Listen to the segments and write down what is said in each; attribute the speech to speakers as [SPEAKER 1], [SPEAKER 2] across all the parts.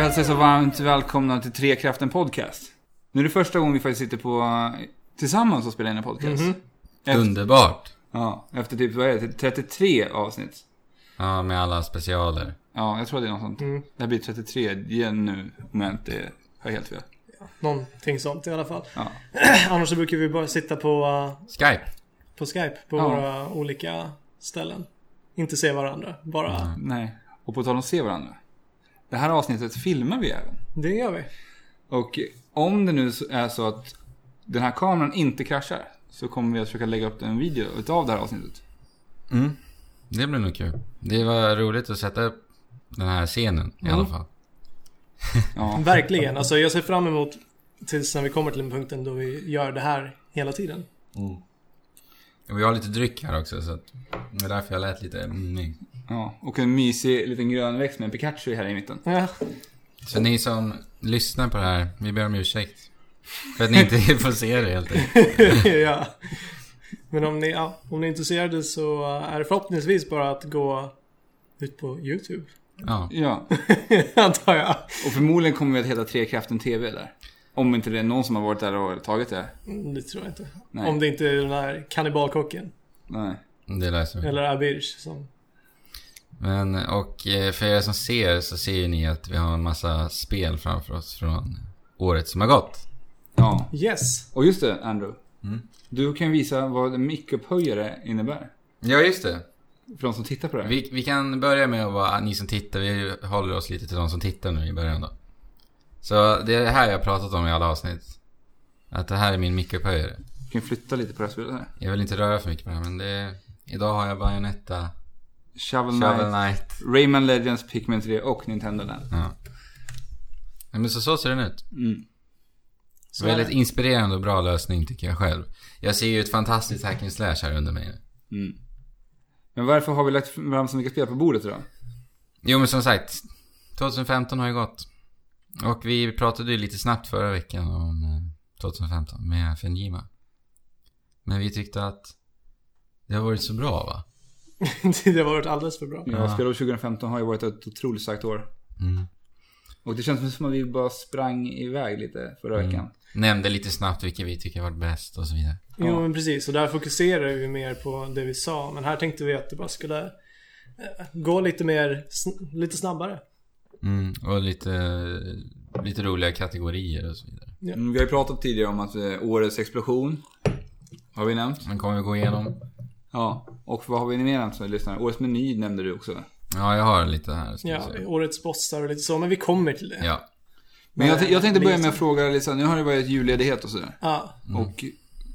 [SPEAKER 1] hälsa er så varmt välkomna till Trekraften Podcast. Nu är det första gången vi faktiskt sitter på tillsammans och spelar in en podcast. efter,
[SPEAKER 2] Underbart.
[SPEAKER 1] ja, efter typ, vad är det, 33 avsnitt.
[SPEAKER 2] Ja, med alla specialer.
[SPEAKER 1] Ja, jag tror det är något sånt. Det här blir 33 igen nu, om jag inte har helt fel.
[SPEAKER 3] Någonting sånt i alla fall.
[SPEAKER 1] Ja.
[SPEAKER 3] Annars så brukar vi bara sitta på, eh,
[SPEAKER 2] Skype.
[SPEAKER 3] på Skype på
[SPEAKER 1] Ja.
[SPEAKER 3] våra olika ställen. Inte se varandra, bara.
[SPEAKER 1] Nej. Och på tal om att se varandra. Det här avsnittet filmar vi även.
[SPEAKER 3] Det gör vi.
[SPEAKER 1] Och om det nu är så att den här kameran inte kraschar så kommer vi att försöka lägga upp en video utav det här avsnittet.
[SPEAKER 2] Det blir nog kul. Det var roligt att sätta upp den här scenen i alla fall.
[SPEAKER 1] Ja.
[SPEAKER 3] Verkligen. Alltså jag ser fram emot tills när vi kommer till den punkten då vi gör det här hela tiden.
[SPEAKER 2] Och vi har lite dryck här också, så att det är därför jag lät lite mm.
[SPEAKER 1] ja. Och en mysig liten grön växt med en Pikachu här i mitten.
[SPEAKER 3] Ja,
[SPEAKER 2] Så ni som lyssnar på det här, vi ber om ursäkt. För att ni inte får se det helt enkelt.
[SPEAKER 3] ja. Men om ni, ja, om ni är intresserade så eh, är det förhoppningsvis bara att gå ut på YouTube.
[SPEAKER 2] Ja.
[SPEAKER 1] Ja.
[SPEAKER 3] Antar jag.
[SPEAKER 1] Och förmodligen kommer vi att heta Trekraften TV där. Om inte det är någon som har varit där och tagit det.
[SPEAKER 3] Det tror jag inte.
[SPEAKER 1] Nej.
[SPEAKER 3] Om det inte är den här kannibalkocken.
[SPEAKER 1] Nej.
[SPEAKER 2] Det löser vi.
[SPEAKER 3] Eller Abirch som...
[SPEAKER 2] Men, och eh, för er som ser så ser ju ni att vi har en massa spel framför oss från året som har gått.
[SPEAKER 1] Ja.
[SPEAKER 3] Yes!
[SPEAKER 1] Och just det, Andrew.
[SPEAKER 2] Mm.
[SPEAKER 1] Du kan visa vad en mickupphöjare innebär.
[SPEAKER 2] Ja, just det.
[SPEAKER 1] För de som tittar på det här.
[SPEAKER 2] Vi, vi kan börja med att vara ni som tittar. Vi håller oss lite till de som tittar nu i början då. Så det är det här jag har pratat om i alla avsnitt. Att det här är min mikropöjare.
[SPEAKER 1] Vi kan flytta lite på det här spelet här.
[SPEAKER 2] Jag vill inte röra för mycket på det här men det är... Idag har jag Bayonetta,
[SPEAKER 1] Shovel Knight,
[SPEAKER 2] Shovel Knight.
[SPEAKER 1] Rayman Legends, Pikmin 3 och Nintendo Land.
[SPEAKER 2] Ja. Nej, men så, så ser den ut.
[SPEAKER 3] Så är
[SPEAKER 2] Väldigt
[SPEAKER 3] det.
[SPEAKER 2] inspirerande och bra lösning tycker jag själv. Jag ser ju ett fantastiskt hack and slash här under mig.
[SPEAKER 1] Men varför har vi lagt fram så mycket spel på bordet idag?
[SPEAKER 2] Jo men som sagt, 2015 har ju gått. Och vi pratade ju lite snabbt förra veckan om eh, 2015 med Fenjima. Men vi tyckte att det har varit så bra va?
[SPEAKER 3] det har varit alldeles för bra.
[SPEAKER 1] Ja. Spelår 2015 har ju varit ett otroligt starkt år.
[SPEAKER 2] Mm.
[SPEAKER 1] Och det känns som att vi bara sprang iväg lite förra
[SPEAKER 2] Mm.
[SPEAKER 1] veckan.
[SPEAKER 2] Nämnde lite snabbt vilka vi tycker har varit bäst och så vidare.
[SPEAKER 3] Jo men precis, och där fokuserar vi mer på det vi sa. Men här tänkte vi att det bara skulle eh, gå lite mer, sn- lite snabbare.
[SPEAKER 2] Mm, och lite, lite roliga kategorier och så vidare.
[SPEAKER 1] Mm, Vi har ju pratat tidigare om att eh, årets explosion har vi nämnt.
[SPEAKER 2] Men kommer vi gå igenom?
[SPEAKER 1] Ja. Och vad har vi mer nämnt som lyssnare? Årets meny nämnde du också.
[SPEAKER 2] Ja, jag har lite här. Ska vi
[SPEAKER 3] Ja,
[SPEAKER 2] se.
[SPEAKER 3] årets bossar och lite så, men vi kommer till det.
[SPEAKER 2] ja.
[SPEAKER 1] Men jag, t- jag tänkte
[SPEAKER 3] Nej,
[SPEAKER 1] börja med
[SPEAKER 3] det-
[SPEAKER 1] att fråga Lisa, nu har det varit julledighet och sådär.
[SPEAKER 3] Ja,
[SPEAKER 1] Och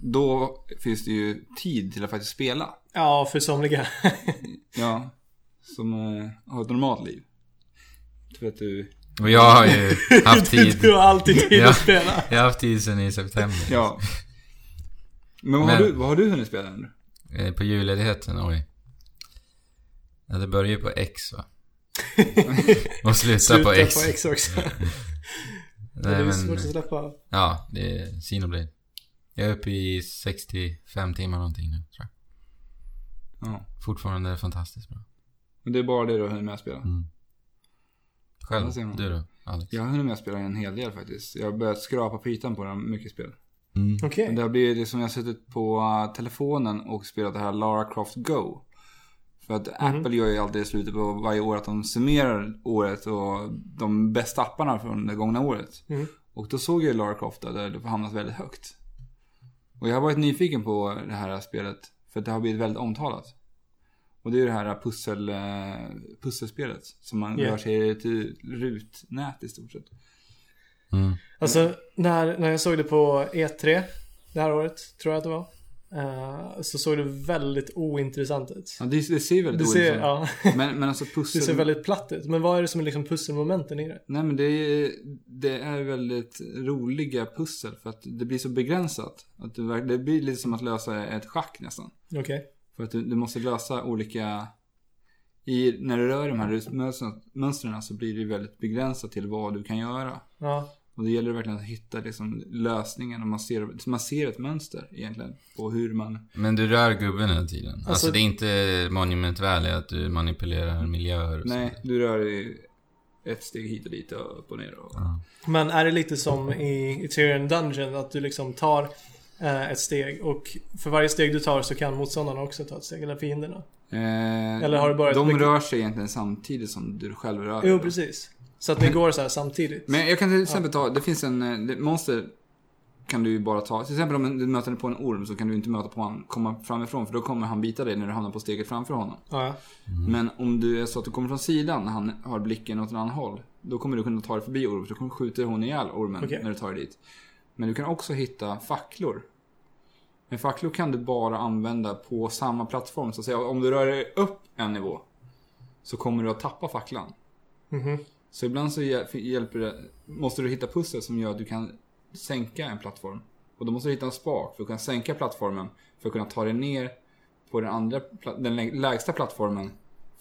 [SPEAKER 1] då finns det ju tid till att faktiskt spela.
[SPEAKER 3] ja för somliga.
[SPEAKER 1] Ja. Som eh, har ett normalt liv. Du vet du...
[SPEAKER 2] Och jag har ju haft tid.
[SPEAKER 3] du har alltid tid
[SPEAKER 2] Ja.
[SPEAKER 3] att spela.
[SPEAKER 2] Jag har haft tid sedan i september.
[SPEAKER 1] Ja. Men vad, Har,
[SPEAKER 2] Men-
[SPEAKER 1] du, vad har du hunnit spela ännu?
[SPEAKER 2] Eh, På julledigheten, oj. Ja, det börjar ju på X va? Och slutar
[SPEAKER 3] Sluta
[SPEAKER 2] på X.
[SPEAKER 3] på X också. det
[SPEAKER 2] Nej,
[SPEAKER 3] är
[SPEAKER 2] men,
[SPEAKER 3] svårt
[SPEAKER 2] Mm.
[SPEAKER 3] att släppa.
[SPEAKER 2] ja, det är Sinoblade. Jag är uppe i 65 timmar någonting nu tror jag.
[SPEAKER 1] Ja.
[SPEAKER 2] Fortfarande fantastiskt bra.
[SPEAKER 1] Men det är bara det du har hunnit med att spela?
[SPEAKER 2] Själv,
[SPEAKER 1] Ja, ser man.
[SPEAKER 2] du då? Alex?
[SPEAKER 1] Jag har hunnit med att spela en hel del faktiskt. Jag har börjat skrapa på ytan på det här mycket spel.
[SPEAKER 3] Okej.
[SPEAKER 1] Men det har blivit liksom, jag har suttit på eh, telefonen och spelat det här Lara Croft Go. För
[SPEAKER 3] Mhm.
[SPEAKER 1] att Apple gör ju alltid i slutet på varje år att de summerar året och de bästa apparna från det gångna året.
[SPEAKER 3] Mm.
[SPEAKER 1] Och då såg jag ju Lara Croft där, där det har hamnat väldigt högt. Och jag har varit nyfiken på det här spelet för att det har blivit väldigt omtalat. Och det är ju det här pussel, eh, pusselspelet som man
[SPEAKER 3] Yeah.
[SPEAKER 1] rör sig i ett rutnät i stort sett.
[SPEAKER 2] Mm.
[SPEAKER 3] Alltså när, när jag såg det på E3 det här året, tror jag att det var. eh, så såg det väldigt ointressant ut.
[SPEAKER 1] Ja, det, det ser väldigt
[SPEAKER 3] Det
[SPEAKER 1] roligt
[SPEAKER 3] ser,
[SPEAKER 1] ut.
[SPEAKER 3] ja,
[SPEAKER 1] Men, men alltså
[SPEAKER 3] det
[SPEAKER 1] pussel...
[SPEAKER 3] ser väldigt platt ut. Men vad är det som är liksom pusselmomenten i det?
[SPEAKER 1] Nej men det är, det är väldigt roliga pussel för att det blir så begränsat. Att det, verk- det blir lite som att lösa ett schack nästan.
[SPEAKER 3] Okej.
[SPEAKER 1] För att du, du måste lösa olika... I, när du rör de här rutmönstren- mönstren så blir det väldigt begränsat till vad du kan göra.
[SPEAKER 3] Ja.
[SPEAKER 1] Och det gäller verkligen att hitta liksom lösningen och man ser, man ser ett mönster egentligen. På hur man...
[SPEAKER 2] Men du rör gubben hela tiden? Alltså,
[SPEAKER 3] Alltså-
[SPEAKER 2] det är inte Monument Valley att du manipulerar miljöer och så
[SPEAKER 1] Nej,
[SPEAKER 2] vidare.
[SPEAKER 1] du rör i ett steg hit och dit och upp och ner. Och...
[SPEAKER 3] Men är det lite som i Ethereum Dungeon att du liksom tar eh, ett steg och för varje steg du tar så kan motståndarna också ta ett steg, eller fienderna.
[SPEAKER 1] Eh,
[SPEAKER 3] Eller har det börjat
[SPEAKER 1] de
[SPEAKER 3] mycket-
[SPEAKER 1] rör sig egentligen samtidigt som du själv rör dig.
[SPEAKER 3] Jo, precis. Så att det går så här samtidigt.
[SPEAKER 1] Men jag kan till exempel ta, det finns en, eh, det- monster kan du ju bara ta. Till exempel om du möter på en orm så kan du inte möta på han, komma framifrån för då kommer han bita dig när du hamnar på steget framför honom.
[SPEAKER 3] Ja,
[SPEAKER 1] Men om du är så att du kommer från sidan, han har blicken åt ett annat håll. Då kommer du kunna ta dig förbi ormen, för då kommer skjuter hon ihjäl ormen
[SPEAKER 3] Okej.
[SPEAKER 1] när du tar dig dit. Men du kan också hitta facklor. Men facklor kan du bara använda på samma plattform, så att säga. Om du rör dig upp en nivå så kommer du att tappa facklan.
[SPEAKER 3] Mhm.
[SPEAKER 1] Så ibland så hjäl- hjälper det, måste du hitta pussel som gör att du kan sänka en plattform. Och då måste du hitta en spak för att kunna sänka plattformen för att kunna ta dig ner på den, andra, pla- den lä- lägsta plattformen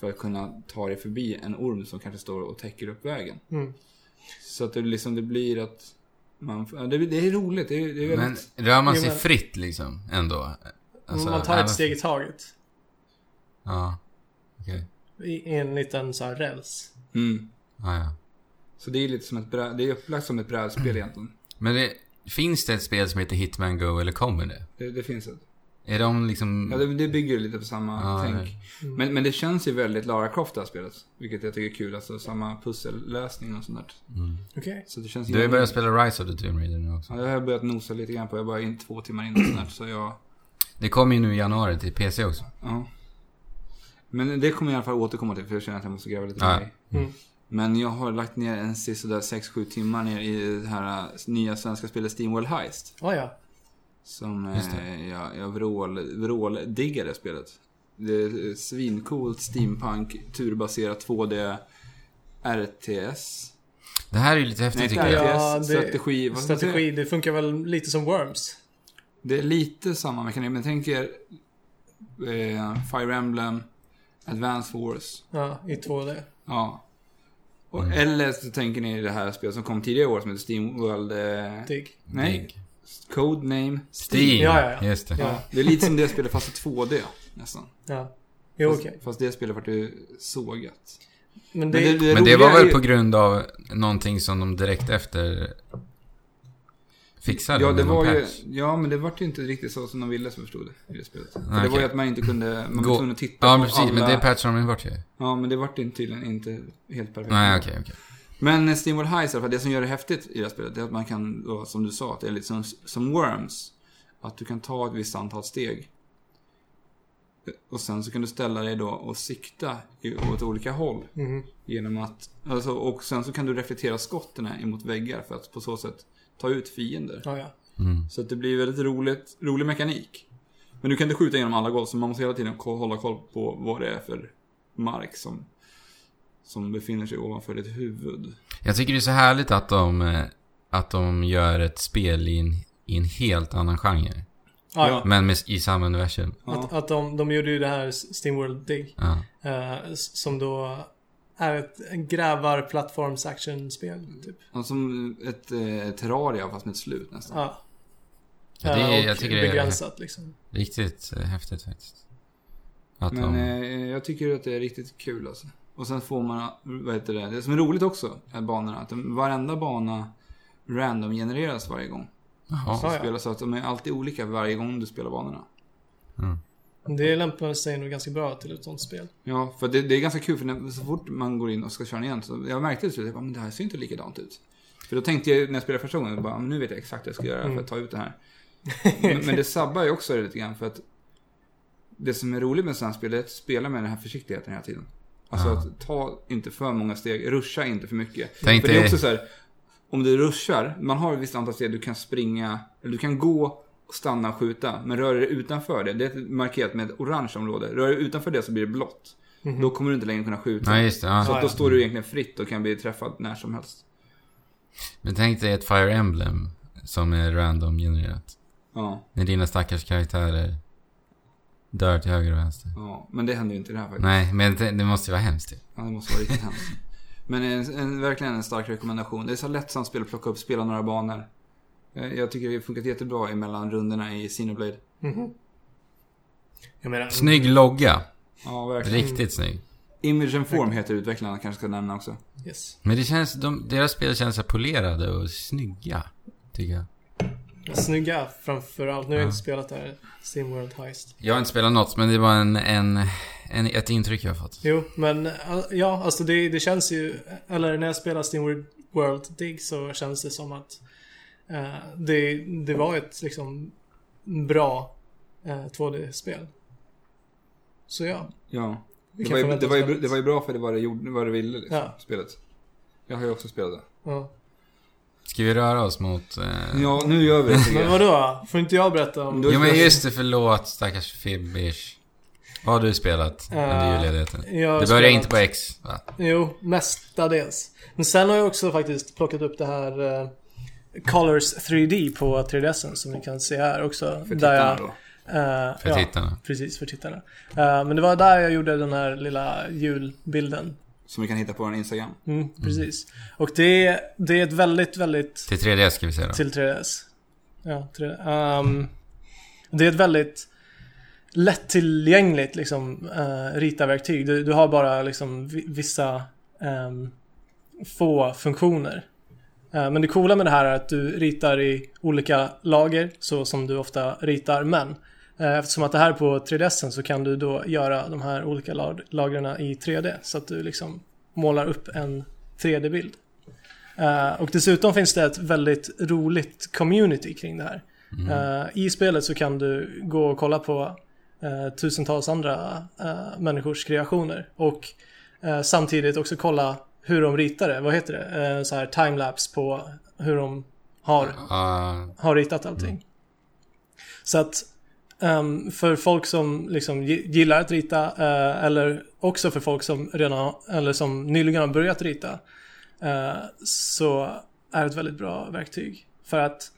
[SPEAKER 1] för att kunna ta dig förbi en orm som kanske står och täcker upp vägen.
[SPEAKER 3] Mm.
[SPEAKER 1] Så att det, liksom, det blir att man, ja, det, det är roligt. Det är, det är
[SPEAKER 2] Men
[SPEAKER 1] väldigt,
[SPEAKER 2] rör man
[SPEAKER 3] Jo,
[SPEAKER 2] sig
[SPEAKER 3] men-
[SPEAKER 2] fritt liksom ändå? Alltså,
[SPEAKER 3] man tar
[SPEAKER 2] även-
[SPEAKER 3] ett steg i taget.
[SPEAKER 2] Ja. Okej.
[SPEAKER 3] I en liten så här räls.
[SPEAKER 1] mm.
[SPEAKER 2] Ja, ja.
[SPEAKER 1] Så det är lite som ett brä, det är upplagt som ett brädspel egentligen.
[SPEAKER 2] Men det, finns det ett spel som heter Hitman Go eller kommer det?
[SPEAKER 1] Det, det finns ett.
[SPEAKER 2] Är de liksom...
[SPEAKER 1] Ja, det, det bygger ju lite på samma
[SPEAKER 2] Ja,
[SPEAKER 1] tänk. Men, men det känns ju väldigt Lara Croft det här spelet. Vilket jag tycker är kul. Alltså samma pussellösning och sånt där.
[SPEAKER 3] Okej.
[SPEAKER 1] Så det känns
[SPEAKER 2] Du har ju börjat spela Rise of the Tomb Raider nu också.
[SPEAKER 1] Ja, det har jag börjat nosa lite grann på. Jag bara in två timmar in och sånt där. Så jag...
[SPEAKER 2] Det kommer ju nu i januari till PC också.
[SPEAKER 1] Ja. Men det kommer jag i alla fall återkomma till. För jag känner att jag måste gräva lite
[SPEAKER 2] Ja.
[SPEAKER 1] mer i.
[SPEAKER 3] Mm.
[SPEAKER 1] Men jag har lagt ner en sisådär 6-7 timmar ner i det här äh, nya svenska spelet Steamworld Heist.
[SPEAKER 3] Ah, ja.
[SPEAKER 1] Som
[SPEAKER 2] Just det.
[SPEAKER 1] eh, jag, jag vrål, vråldiggar det spelet. Det är ett svincoolt steampunk, turbaserat 2D RTS.
[SPEAKER 2] Det här är ju lite häftigt
[SPEAKER 1] Nej,
[SPEAKER 2] tycker
[SPEAKER 1] det
[SPEAKER 2] jag.
[SPEAKER 1] är-
[SPEAKER 3] ja,
[SPEAKER 1] RTS,
[SPEAKER 3] det,
[SPEAKER 1] strategi, vad ska man
[SPEAKER 3] strategi. Det funkar väl lite som Worms?
[SPEAKER 1] Det är lite samma mekanik, men tänk er eh, Fire Emblem, Advance Wars.
[SPEAKER 3] Ja, i 2D.
[SPEAKER 1] Ja. Och,
[SPEAKER 2] Mm.
[SPEAKER 1] Eller så tänker ni det här spelet som kom tidigare i år som heter Steamworld... Eh,
[SPEAKER 3] Dig.
[SPEAKER 1] nej,
[SPEAKER 2] Dig.
[SPEAKER 1] Codename.
[SPEAKER 2] Steam.
[SPEAKER 3] Ja, ja, ja.
[SPEAKER 2] Just det.
[SPEAKER 3] Ja.
[SPEAKER 1] Det är lite som det spelet fast i 2D nästan.
[SPEAKER 3] ja. Jo, okej.
[SPEAKER 1] Fast, fast det spelet vart ju sågat.
[SPEAKER 3] Men
[SPEAKER 1] Men
[SPEAKER 2] Men
[SPEAKER 3] det...
[SPEAKER 2] det
[SPEAKER 1] roliga
[SPEAKER 2] var
[SPEAKER 1] är
[SPEAKER 2] väl
[SPEAKER 1] ju-
[SPEAKER 2] på grund av någonting som de direkt efter fixade
[SPEAKER 1] Ja, det
[SPEAKER 2] med någon
[SPEAKER 1] var ju,
[SPEAKER 2] patch.
[SPEAKER 1] ja, men det var ju inte riktigt så som de ville som jag förstod det i det spelet. För
[SPEAKER 2] Nej,
[SPEAKER 1] det var ju
[SPEAKER 2] okej.
[SPEAKER 1] att man inte kunde, man
[SPEAKER 2] Gå-
[SPEAKER 1] var tvungen att titta
[SPEAKER 2] Ja,
[SPEAKER 1] på
[SPEAKER 2] men precis.
[SPEAKER 1] alla.
[SPEAKER 2] Men det patchade de ju bort ju.
[SPEAKER 1] Ja, men det vart ju tydligen inte helt perfekt.
[SPEAKER 2] Nej, okej, okej.
[SPEAKER 1] Men eh, Steamworld Heist, i alla fall, det som gör det häftigt i det här spelet, det är att man kan, då, som du sa, att det är lite som, som Worms. Att du kan ta ett visst antal steg. Och sen så kan du ställa dig då och sikta i- åt olika håll.
[SPEAKER 3] Mhm.
[SPEAKER 1] Genom att, alltså, och sen så kan du reflektera skotten emot väggar för att på så sätt ta ut fiender.
[SPEAKER 3] Ah, Ja, ja.
[SPEAKER 2] Mm.
[SPEAKER 1] Så att det blir väldigt roligt, rolig mekanik. Men du kan inte skjuta genom alla golv, så man måste hela tiden ko- hålla koll på vad det är för mark som, som befinner sig ovanför ditt huvud.
[SPEAKER 2] Jag tycker det är så härligt att de, eh, att de gör ett spel i en, i en helt annan genre.
[SPEAKER 3] Ah,
[SPEAKER 1] Ja.
[SPEAKER 3] ja.
[SPEAKER 2] Men med, i samma universum.
[SPEAKER 3] Att, att de, de gjorde ju det här Steamworld Dig.
[SPEAKER 2] Ja.
[SPEAKER 3] eh, s- som då är ett grävar actionspel typ.
[SPEAKER 1] Ja, alltså, Som ett eh, Terraria fast med ett slut nästan.
[SPEAKER 3] Ja.
[SPEAKER 2] Ja, det är-
[SPEAKER 3] Eh,
[SPEAKER 2] jag
[SPEAKER 3] och
[SPEAKER 2] tycker det är-
[SPEAKER 3] begränsat liksom.
[SPEAKER 2] Riktigt eh, häftigt faktiskt. Att
[SPEAKER 1] Men
[SPEAKER 2] de...
[SPEAKER 1] eh, jag tycker att det är riktigt kul alltså. Och sen får man, vad heter det, det som är roligt också är banorna. Att de, varenda bana random genereras varje gång.
[SPEAKER 2] Jaha.
[SPEAKER 1] Så,
[SPEAKER 3] Ja, ja.
[SPEAKER 1] spelar, så att de är alltid olika varje gång du spelar banorna.
[SPEAKER 3] Det lämpar sig nog ganska bra till ett sånt spel.
[SPEAKER 1] Ja, för det, det är ganska kul för när, så fort man går in och ska köra igen så jag märkte det så jag bara, men det här ser inte likadant ut. För då tänkte jag när jag spelade första gången, bara, men nu vet jag exakt vad jag ska göra för att ta ut det här. Men, men det sabbar ju också det lite grann för att det som är roligt med sådana här spel är att spela med den här försiktigheten hela tiden. Alltså att ta inte för många steg, ruscha inte för mycket.
[SPEAKER 2] Tänk
[SPEAKER 1] för det är
[SPEAKER 2] dig-
[SPEAKER 1] också så här, om du ruschar, man har ett visst antal steg du kan springa, eller du kan gå, stanna och skjuta, men rör dig utanför det, det är markerat med ett orange område, rör dig utanför det så blir det blått. Då kommer du inte längre kunna skjuta.
[SPEAKER 2] Nej, just det.
[SPEAKER 1] Så
[SPEAKER 2] Ja.
[SPEAKER 1] att då står du egentligen fritt och kan bli träffad när som helst.
[SPEAKER 2] Men tänk dig ett Fire Emblem som är random genererat.
[SPEAKER 1] Ja,
[SPEAKER 2] När dina stackars karaktärer dör till höger och vänster.
[SPEAKER 1] ja. Men det händer ju inte i det här faktiskt.
[SPEAKER 2] Nej, men det, det måste ju vara hemskt ju.
[SPEAKER 1] Ja, det måste vara riktigt hemskt. Men en, en, verkligen en stark rekommendation. Det är så lättsamt spel att plocka upp, spela några banor. Eh, Jag tycker det har funkat jättebra emellan rundorna i Cineblade.
[SPEAKER 3] Jag menar,
[SPEAKER 2] Snygg logga.
[SPEAKER 1] Ja, verkligen.
[SPEAKER 2] Riktigt snygg.
[SPEAKER 1] Image and Form heter utvecklarna, kanske ska nämna också.
[SPEAKER 3] Yes.
[SPEAKER 2] Men det känns, de, deras spel känns så här polerade och snygga. Tycker jag.
[SPEAKER 3] Snygga framförallt. Nu har jag inte spelat det här Steamworld Heist.
[SPEAKER 2] Jag har inte spelat något, men det var en, en, en, ett intryck jag har fått.
[SPEAKER 3] Jo, men eh, ja, alltså det, det känns ju... Eller när jag spelar Steamworld World Dig så känns det som att eh, det, det var ett liksom bra eh, 2D-spel. Så ja,
[SPEAKER 1] Ja.
[SPEAKER 3] vi
[SPEAKER 1] Det
[SPEAKER 3] kan
[SPEAKER 1] var, ju,
[SPEAKER 3] förvänta
[SPEAKER 1] det,
[SPEAKER 3] oss
[SPEAKER 1] var ju,
[SPEAKER 3] väldigt-
[SPEAKER 1] det var ju bra för det var det, gjorde, vad det ville, liksom,
[SPEAKER 3] Ja.
[SPEAKER 1] spelet. Jag har ju också spelat det.
[SPEAKER 3] Ja.
[SPEAKER 2] Ska vi röra oss mot... Eh...
[SPEAKER 1] Ja, nu gör vi det. tycker
[SPEAKER 3] Men
[SPEAKER 1] jag.
[SPEAKER 3] vadå? Får inte jag berätta om...
[SPEAKER 1] Du-
[SPEAKER 2] Jo men just det, förlåt stackars Fibbish. Vad har du spelat under
[SPEAKER 3] Eh,
[SPEAKER 2] julledigheten?
[SPEAKER 3] jag har
[SPEAKER 2] Det börjar
[SPEAKER 3] spelat-
[SPEAKER 2] inte på X, va?
[SPEAKER 3] Jo, mestadels. Men sen har jag också faktiskt plockat upp det här eh, Colors 3D på 3DSen som ni kan se här också.
[SPEAKER 1] För
[SPEAKER 3] där jag,
[SPEAKER 1] tittarna då.
[SPEAKER 3] eh,
[SPEAKER 2] För
[SPEAKER 3] ja,
[SPEAKER 2] tittarna.
[SPEAKER 3] Precis, för tittarna. Eh, men det var där jag gjorde den här lilla julbilden.
[SPEAKER 1] Som vi kan hitta på vår Instagram.
[SPEAKER 3] Mm, Precis. Och det, det är ett väldigt, väldigt...
[SPEAKER 2] Till 3D ska vi säga då.
[SPEAKER 3] Till 3DS. Ja, 3D. Ehm, det är ett väldigt lättillgängligt liksom, eh, ritarverktyg. Du, du har bara liksom, vi- vissa ehm, få funktioner. Eh, men det coola med det här är att du ritar i olika lager, så som du ofta ritar män. Eh, Eftersom att det här är på 3DSen så kan du då göra de här olika lag- lagren i 3D. Så att du liksom målar upp en 3D-bild. Eh, och dessutom finns det ett väldigt roligt community kring det här. Eh, I spelet så kan du gå och kolla på eh, tusentals andra eh, människors kreationer. Och eh, samtidigt också kolla hur de ritar det. Vad heter det? Eh, så här timelapse på hur de har
[SPEAKER 2] Ja,
[SPEAKER 3] har ritat allting. Så att ehm, för folk som liksom gi- gillar att rita eh, eller också för folk som redan har- eller som nyligen har börjat rita eh, så är det ett väldigt bra verktyg för att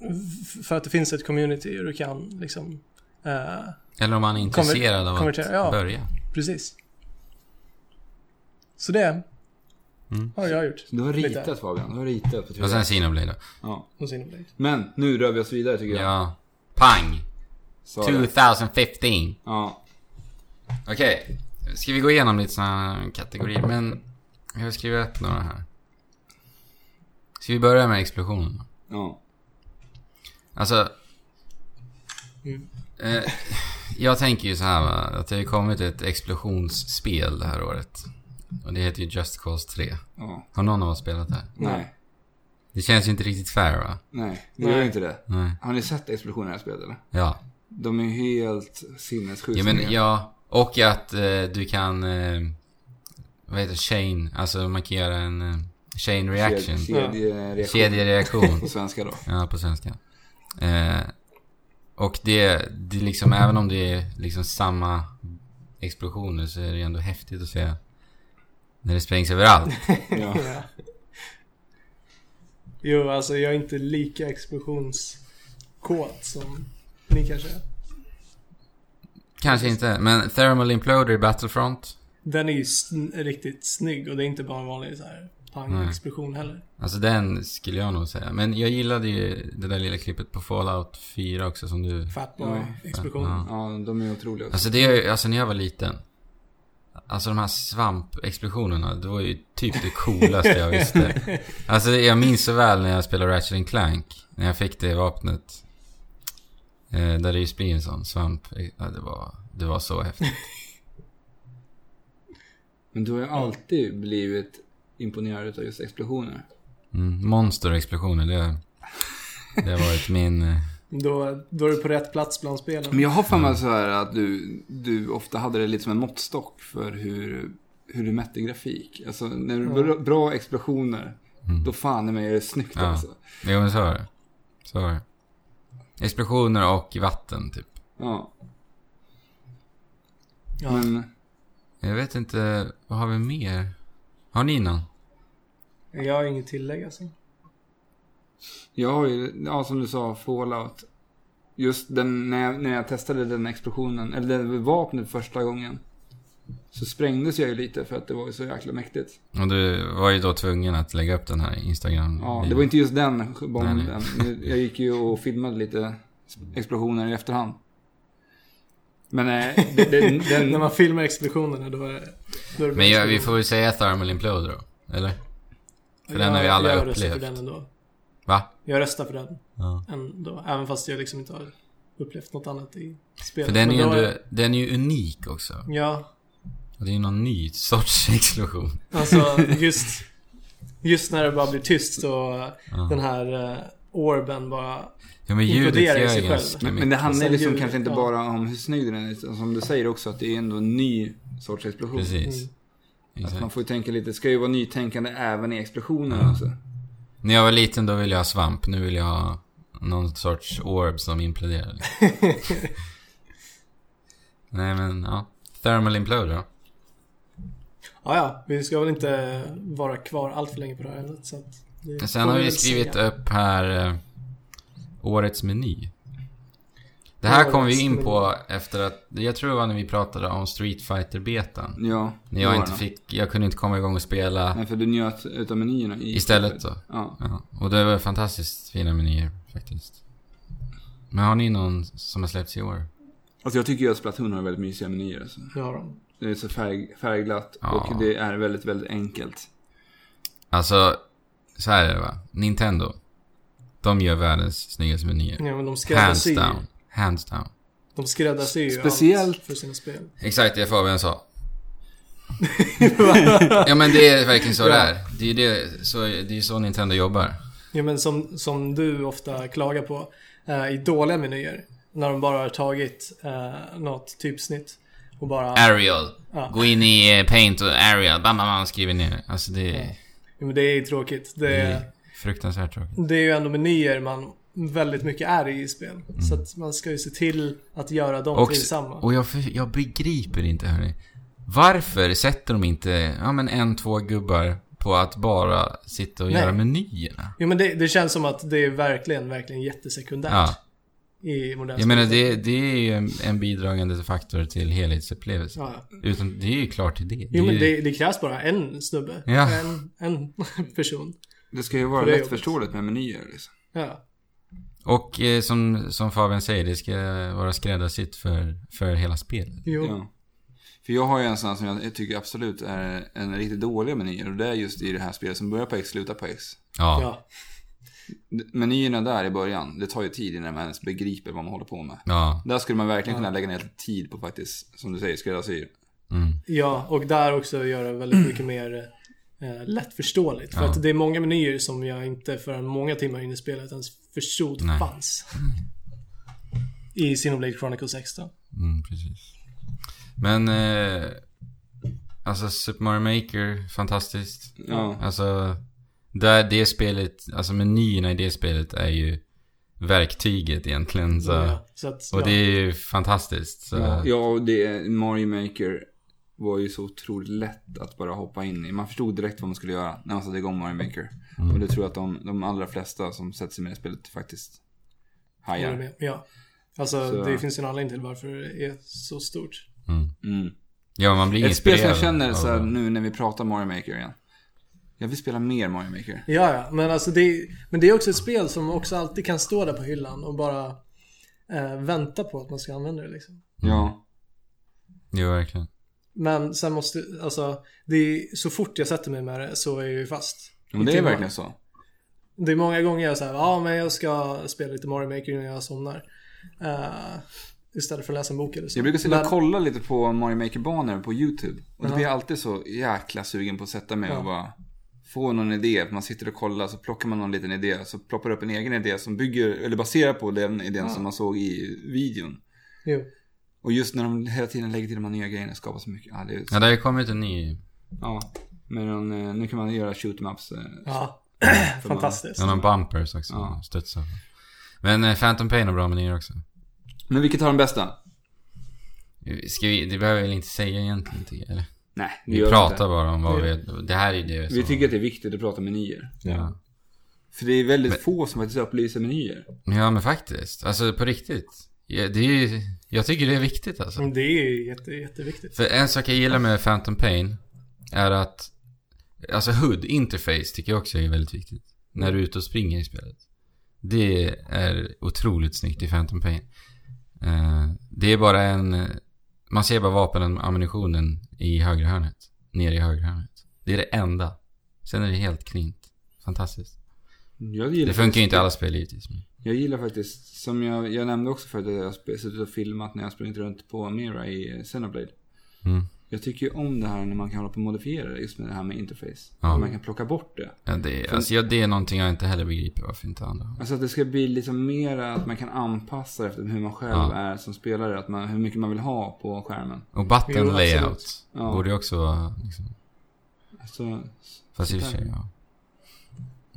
[SPEAKER 3] f- för att det finns ett community och du kan liksom eh,
[SPEAKER 2] eller om man är intresserad av att
[SPEAKER 3] konvertera, ja.
[SPEAKER 2] börja.
[SPEAKER 3] precis. Så det har jag gjort.
[SPEAKER 1] Du har
[SPEAKER 3] Lite.
[SPEAKER 1] ritat Fabian. Du har ritat på
[SPEAKER 2] Och
[SPEAKER 1] tittarna.
[SPEAKER 2] sen Sinoblade då.
[SPEAKER 1] Ja.
[SPEAKER 3] Hos Innoblade.
[SPEAKER 1] Men nu rör vi oss vidare tycker jag.
[SPEAKER 2] Ja. Pang!
[SPEAKER 1] Så,
[SPEAKER 2] 2015.
[SPEAKER 1] ja.
[SPEAKER 2] Okej. Ska vi gå igenom lite såna kategorier? Men jag har skrivit upp några här. Ska vi börja med explosionen? då?
[SPEAKER 1] ja.
[SPEAKER 2] Alltså... Eh, jag tänker ju så här va, att det har ju kommit ett explosionsspel det här året. Och det heter ju Just Cause 3.
[SPEAKER 1] ja.
[SPEAKER 2] Har någon av oss spelat det? här?
[SPEAKER 1] Nej.
[SPEAKER 2] Det känns ju inte riktigt fair va?
[SPEAKER 1] Nej. Det
[SPEAKER 3] Nej.
[SPEAKER 1] gör inte det.
[SPEAKER 2] Nej.
[SPEAKER 1] Har ni sett explosionen i det här spelet eller?
[SPEAKER 2] Ja.
[SPEAKER 1] De är ju helt sinnessjukt
[SPEAKER 2] Ja,
[SPEAKER 1] snygga.
[SPEAKER 2] men, ja. Och att eh, du kan... Eh, vad heter det? Chain. Alltså man kan göra en eh, chain reaction.
[SPEAKER 1] Ked- Kedjereaktion.
[SPEAKER 2] Kedjereaktion.
[SPEAKER 1] På svenska då.
[SPEAKER 2] Ja, på svenska. Eh, och det, det är liksom, även om det är liksom samma explosioner så är det ju ändå häftigt att se när det sprängs överallt.
[SPEAKER 1] Ja.
[SPEAKER 3] Ja. Jo, alltså jag är inte lika explosionskåt som ni kanske är.
[SPEAKER 2] Kanske inte, men Thermal Imploder i Battlefront.
[SPEAKER 3] Den är ju sn- riktigt snygg och det är inte bara en vanlig så här pang-explosion heller.
[SPEAKER 2] Alltså den skulle jag nog säga. Men jag gillade ju det där lilla klippet på Fallout 4 också som du...
[SPEAKER 3] Fatboy-explosion.
[SPEAKER 2] Ja.
[SPEAKER 1] ja, de är otroliga. också.
[SPEAKER 2] Alltså det är ju- alltså när jag var liten. Alltså de här svampexplosionerna, det var ju typ det coolaste jag visste. Alltså jag minns så väl när jag spelade Ratchet and Clank. När jag fick det vapnet. Eh, där det just blir en sån svamp. Ja, det, var, det var så häftigt.
[SPEAKER 1] Men du har ju alltid blivit imponerad utav just explosioner.
[SPEAKER 2] Mm, monsterexplosioner, det, det har varit min... eh,
[SPEAKER 3] Då, då är du på rätt plats bland spelen.
[SPEAKER 1] Men jag har för mig så här att du, du ofta hade det lite som en måttstock för hur, hur du mätte grafik. Alltså, när du bra, bra explosioner, då fan i mig är det snyggt
[SPEAKER 2] Ja.
[SPEAKER 1] alltså.
[SPEAKER 2] Jo men så var det. Så var det. Explosioner och vatten typ.
[SPEAKER 1] Ja.
[SPEAKER 3] Ja.
[SPEAKER 1] Men
[SPEAKER 2] Jag vet inte, vad har vi mer? Har ni någon?
[SPEAKER 3] Jag har inget tillägg alltså.
[SPEAKER 1] jag har ju, ja som du sa, Fallout. Just den, när, jag, när jag testade den explosionen, eller det vapnet första gången. Så sprängdes jag ju lite för att det var ju så jäkla mäktigt.
[SPEAKER 2] Och du var ju då tvungen att lägga upp den här instagram
[SPEAKER 1] Ja, det var inte just den bomben.
[SPEAKER 2] Nej,
[SPEAKER 1] Jag gick ju och filmade lite explosioner i efterhand. Men eh, det- det- den,
[SPEAKER 3] När man filmar explosionerna då är, då är det
[SPEAKER 2] Men ja, vi får väl säga Thermal Implode då? Eller? för den har vi alla
[SPEAKER 3] jag röstar för
[SPEAKER 2] upplevt.
[SPEAKER 3] den ändå.
[SPEAKER 2] Va?
[SPEAKER 3] Jag röstar för den
[SPEAKER 2] Ja.
[SPEAKER 3] ändå. Även fast jag liksom inte har upplevt något annat i spelet.
[SPEAKER 2] För den är,
[SPEAKER 3] Men
[SPEAKER 2] ju
[SPEAKER 3] då
[SPEAKER 2] ändå, den är ju unik också.
[SPEAKER 3] Ja,
[SPEAKER 2] Och det är ju någon ny sorts explosion.
[SPEAKER 3] Alltså just, just när det bara blir tyst så den här eh, orben bara... mm.
[SPEAKER 2] Ja men
[SPEAKER 3] Inkluderar
[SPEAKER 2] ljudet
[SPEAKER 3] i
[SPEAKER 2] gör
[SPEAKER 3] sig
[SPEAKER 2] ju
[SPEAKER 3] själv.
[SPEAKER 2] ganska
[SPEAKER 1] Men,
[SPEAKER 2] mycket.
[SPEAKER 1] men det handlar ju
[SPEAKER 3] Sen
[SPEAKER 1] liksom
[SPEAKER 3] ljudet,
[SPEAKER 1] kanske inte
[SPEAKER 3] ja.
[SPEAKER 1] bara om hur snygg den är, utan som du säger också att det är ändå en ny sorts explosion.
[SPEAKER 3] Mm.
[SPEAKER 2] Precis.
[SPEAKER 1] Att
[SPEAKER 2] Exakt.
[SPEAKER 1] man får ju tänka lite, det ska ju vara nytänkande även i explosionen alltså.
[SPEAKER 2] När jag var liten då ville jag ha svamp. Nu vill jag ha någon sorts orb som imploderar. liksom. Nej men ja. Thermal implode då.
[SPEAKER 3] Ja, ja, vi ska väl inte vara kvar allt för länge på det här ämnet. Så att det får
[SPEAKER 2] Sen har vi
[SPEAKER 3] väl
[SPEAKER 2] skrivit
[SPEAKER 3] se.
[SPEAKER 2] upp här eh, årets meny. Det här kom vi
[SPEAKER 3] Årets
[SPEAKER 2] in på efter att, jag tror det var när vi pratade om Street fighter betan
[SPEAKER 1] Ja.
[SPEAKER 2] När
[SPEAKER 1] det
[SPEAKER 2] jag
[SPEAKER 1] var
[SPEAKER 2] inte
[SPEAKER 1] det.
[SPEAKER 2] fick, jag kunde inte komma igång och spela
[SPEAKER 1] Nej, för du njöt utav menyerna i...
[SPEAKER 2] istället då.
[SPEAKER 1] Ja.
[SPEAKER 2] Ja, och det var fantastiskt fina menyer faktiskt. Men har ni någon som har släppts i år?
[SPEAKER 1] Alltså jag tycker ju att Splatoon har väldigt mysiga menyer alltså.
[SPEAKER 3] Ja, de.
[SPEAKER 1] Det är så färg, färgglatt
[SPEAKER 2] Ja.
[SPEAKER 1] och det är väldigt, väldigt enkelt.
[SPEAKER 2] Alltså, så här är det va. Nintendo. De gör världens snyggaste menyer.
[SPEAKER 3] Ja, men de
[SPEAKER 2] Hands
[SPEAKER 3] skräddarsyr
[SPEAKER 2] down. Hands down.
[SPEAKER 3] De skräddarsyr ju
[SPEAKER 1] Speciellt-
[SPEAKER 3] allt för sina spel.
[SPEAKER 2] Exakt det Fabian sa. ja men det är verkligen så det är. Det är ju det, så, det är så Nintendo jobbar.
[SPEAKER 3] Ja, men som, som du ofta klagar på eh, i dåliga menyer. När de bara har tagit eh, något typsnitt och bara...
[SPEAKER 2] Arial.
[SPEAKER 3] Ja.
[SPEAKER 2] Gå in i eh, Paint och Arial. Bam, bam, bam, skriver ner. Alltså det är,
[SPEAKER 3] Ja, men det är tråkigt. Det
[SPEAKER 2] det
[SPEAKER 3] är...
[SPEAKER 2] är fruktansvärt tråkigt.
[SPEAKER 3] Det är ju ändå menyer man väldigt mycket är i i spel. Så att man ska ju se till att göra dem
[SPEAKER 2] Och,
[SPEAKER 3] till samma.
[SPEAKER 2] och jag, för- jag begriper inte hörni. Varför sätter de inte, ja men en, två gubbar på att bara sitta och
[SPEAKER 3] Nej.
[SPEAKER 2] göra menyerna?
[SPEAKER 3] Jo men det, det känns som att det är verkligen, verkligen jättesekundärt
[SPEAKER 2] Ja.
[SPEAKER 3] i modern
[SPEAKER 2] Jag menar det, det är ju en, en bidragande faktor till helhetsupplevelsen.
[SPEAKER 3] Ja. ja.
[SPEAKER 2] Utan det är ju klart det. det
[SPEAKER 3] Jo
[SPEAKER 2] är
[SPEAKER 3] men
[SPEAKER 2] ju-
[SPEAKER 3] det, det krävs bara en snubbe.
[SPEAKER 2] Ja.
[SPEAKER 3] En, en person.
[SPEAKER 1] Det ska ju vara
[SPEAKER 3] För det är
[SPEAKER 1] lättförståeligt med menyer liksom.
[SPEAKER 3] Ja.
[SPEAKER 2] Och eh, som, som Fabian säger, det ska vara skräddarsytt för, för hela spelet.
[SPEAKER 3] Jo.
[SPEAKER 1] Ja. För jag har ju en sån som jag tycker absolut är en riktigt dålig meny och det är just i det här spelet som börjar på X, slutar på X.
[SPEAKER 2] Ja. ja.
[SPEAKER 3] Ja.
[SPEAKER 1] Menyerna där i början, det tar ju tid innan man ens begriper vad man håller på med.
[SPEAKER 2] Ja.
[SPEAKER 1] Där skulle man verkligen kunna lägga ner lite tid på faktiskt, som du säger, skräddarsyr.
[SPEAKER 2] Mm.
[SPEAKER 3] ja, och där också göra väldigt mycket mer eh, lättförståeligt. För
[SPEAKER 2] Ja.
[SPEAKER 3] att det är många menyer som jag inte förrän många timmar in i spelet ens förstod
[SPEAKER 2] Nej.
[SPEAKER 3] fanns. I Xenoblade Chronicles 6 då.
[SPEAKER 2] Mm, precis. Men... Eh, alltså Super Mario Maker, fantastiskt.
[SPEAKER 1] Ja.
[SPEAKER 2] Alltså... Där det spelet, alltså menyerna i det spelet är ju verktyget egentligen. Så,
[SPEAKER 3] Ja, så att,
[SPEAKER 2] eh, Och
[SPEAKER 3] ja.
[SPEAKER 2] det är ju fantastiskt. Så,
[SPEAKER 1] Ja, och det, Mario Maker var ju så otroligt lätt att bara hoppa in i. Man förstod direkt vad man skulle göra när man satte igång Mario Maker.
[SPEAKER 3] Mm.
[SPEAKER 1] Och det tror jag att de, de allra flesta som sätter sig med i spelet faktiskt
[SPEAKER 3] Håller
[SPEAKER 1] hajar.
[SPEAKER 3] med. Ja. Alltså
[SPEAKER 1] Så-
[SPEAKER 3] det finns ju en anledning till varför det är så stort.
[SPEAKER 1] Mm.
[SPEAKER 2] ja, man blir
[SPEAKER 1] Ett spel som
[SPEAKER 2] inspirerad
[SPEAKER 1] jag känner
[SPEAKER 2] av-
[SPEAKER 1] så här, nu när vi pratar Mario Maker igen. Jag vill spela mer Mario
[SPEAKER 2] Mm.
[SPEAKER 1] Maker.
[SPEAKER 3] Ja, ja. Men, alltså det, men det är också ett spel som också alltid kan stå där på hyllan och bara eh, vänta på att man ska använda det liksom.
[SPEAKER 1] Ja.
[SPEAKER 2] Jo, verkligen.
[SPEAKER 3] Men sen måste, alltså, det är, så fort jag sätter mig med det så är jag ju fast.
[SPEAKER 1] Men
[SPEAKER 3] i
[SPEAKER 1] det är
[SPEAKER 3] timmar.
[SPEAKER 1] verkligen så.
[SPEAKER 3] Det är många gånger jag säger ja men jag ska spela lite Mario Maker innan jag somnar. Eh, istället för att läsa en bok eller så.
[SPEAKER 1] Jag brukar sitta
[SPEAKER 3] Men-
[SPEAKER 1] och kolla lite på Mario Maker-banor på YouTube. Och då
[SPEAKER 3] Ja.
[SPEAKER 1] blir jag alltid så jäkla sugen på att sätta mig
[SPEAKER 3] Ja.
[SPEAKER 1] och bara få någon idé. Man sitter och kollar så plockar man någon liten idé. Så ploppar det upp en egen idé som bygger, eller baserar på den idén som man såg i videon.
[SPEAKER 3] Jo.
[SPEAKER 1] Och just när de hela tiden lägger till de här nya grejerna skapar så mycket. Ja, det är
[SPEAKER 2] Ja, det har ju kommit en ny...
[SPEAKER 1] ja. Men de, eh, nu kan man göra shoot 'em ups. eh,
[SPEAKER 3] Ja. Fantastiskt.
[SPEAKER 2] Ja, någon bumpers också.
[SPEAKER 1] Ja.
[SPEAKER 2] Studsar. Men eh, Phantom Pain har bra menyer också.
[SPEAKER 1] Men vilket har den bästa?
[SPEAKER 2] Ska vi, det behöver vi väl inte säga egentligen tycker jag, eller?
[SPEAKER 1] Nej, det
[SPEAKER 2] Vi
[SPEAKER 1] gör
[SPEAKER 2] pratar
[SPEAKER 1] inte.
[SPEAKER 2] bara om vad vi... Det här är det
[SPEAKER 1] Vi tycker att det är viktigt att prata menyer.
[SPEAKER 2] ja.
[SPEAKER 1] För det är väldigt få som faktiskt upplyser menyer.
[SPEAKER 2] ja, men faktiskt. Alltså på riktigt. Ja, det är ju, jag tycker det är viktigt alltså.
[SPEAKER 3] Men Det är ju jätte, jätteviktigt.
[SPEAKER 2] För en sak jag gillar med Phantom Pain är att... Alltså HUD, interface, tycker jag också är väldigt viktigt. När du är ute och springer i spelet. Det är otroligt snyggt i Phantom Pain. Eh, det är bara en... eh, Man ser bara vapen och ammunitionen i högra hörnet. Nere i högra hörnet. Det är det enda. Sen är det helt klint. Fantastiskt.
[SPEAKER 1] Jag gillar
[SPEAKER 2] Det funkar ju
[SPEAKER 1] faktiskt-
[SPEAKER 2] inte i alla spel givetvis. Men...
[SPEAKER 1] Jag gillar faktiskt, som jag, jag nämnde också förut, att jag har sp- suttit och filmat när jag sprungit runt på Mira i eh, Xenoblade.
[SPEAKER 2] Mm.
[SPEAKER 1] Jag tycker ju om det här när man kan hålla på och modifiera det, just med det här med interface.
[SPEAKER 2] Ja.
[SPEAKER 1] Att man kan plocka bort det.
[SPEAKER 2] Ja, det, är- alltså, ja, det är någonting jag inte heller begriper varför inte andra har.
[SPEAKER 1] Alltså att det ska bli liksom mer att man kan anpassa efter hur man själv
[SPEAKER 2] Ja.
[SPEAKER 1] är som spelare. Att man, hur mycket man vill ha på skärmen.
[SPEAKER 2] Och button
[SPEAKER 3] Jo, absolut.
[SPEAKER 2] layout
[SPEAKER 1] Ja.
[SPEAKER 2] borde ju också vara... Liksom,
[SPEAKER 1] Alltså,
[SPEAKER 2] fast i och
[SPEAKER 1] sånt
[SPEAKER 2] för sig,
[SPEAKER 1] där-
[SPEAKER 2] ja.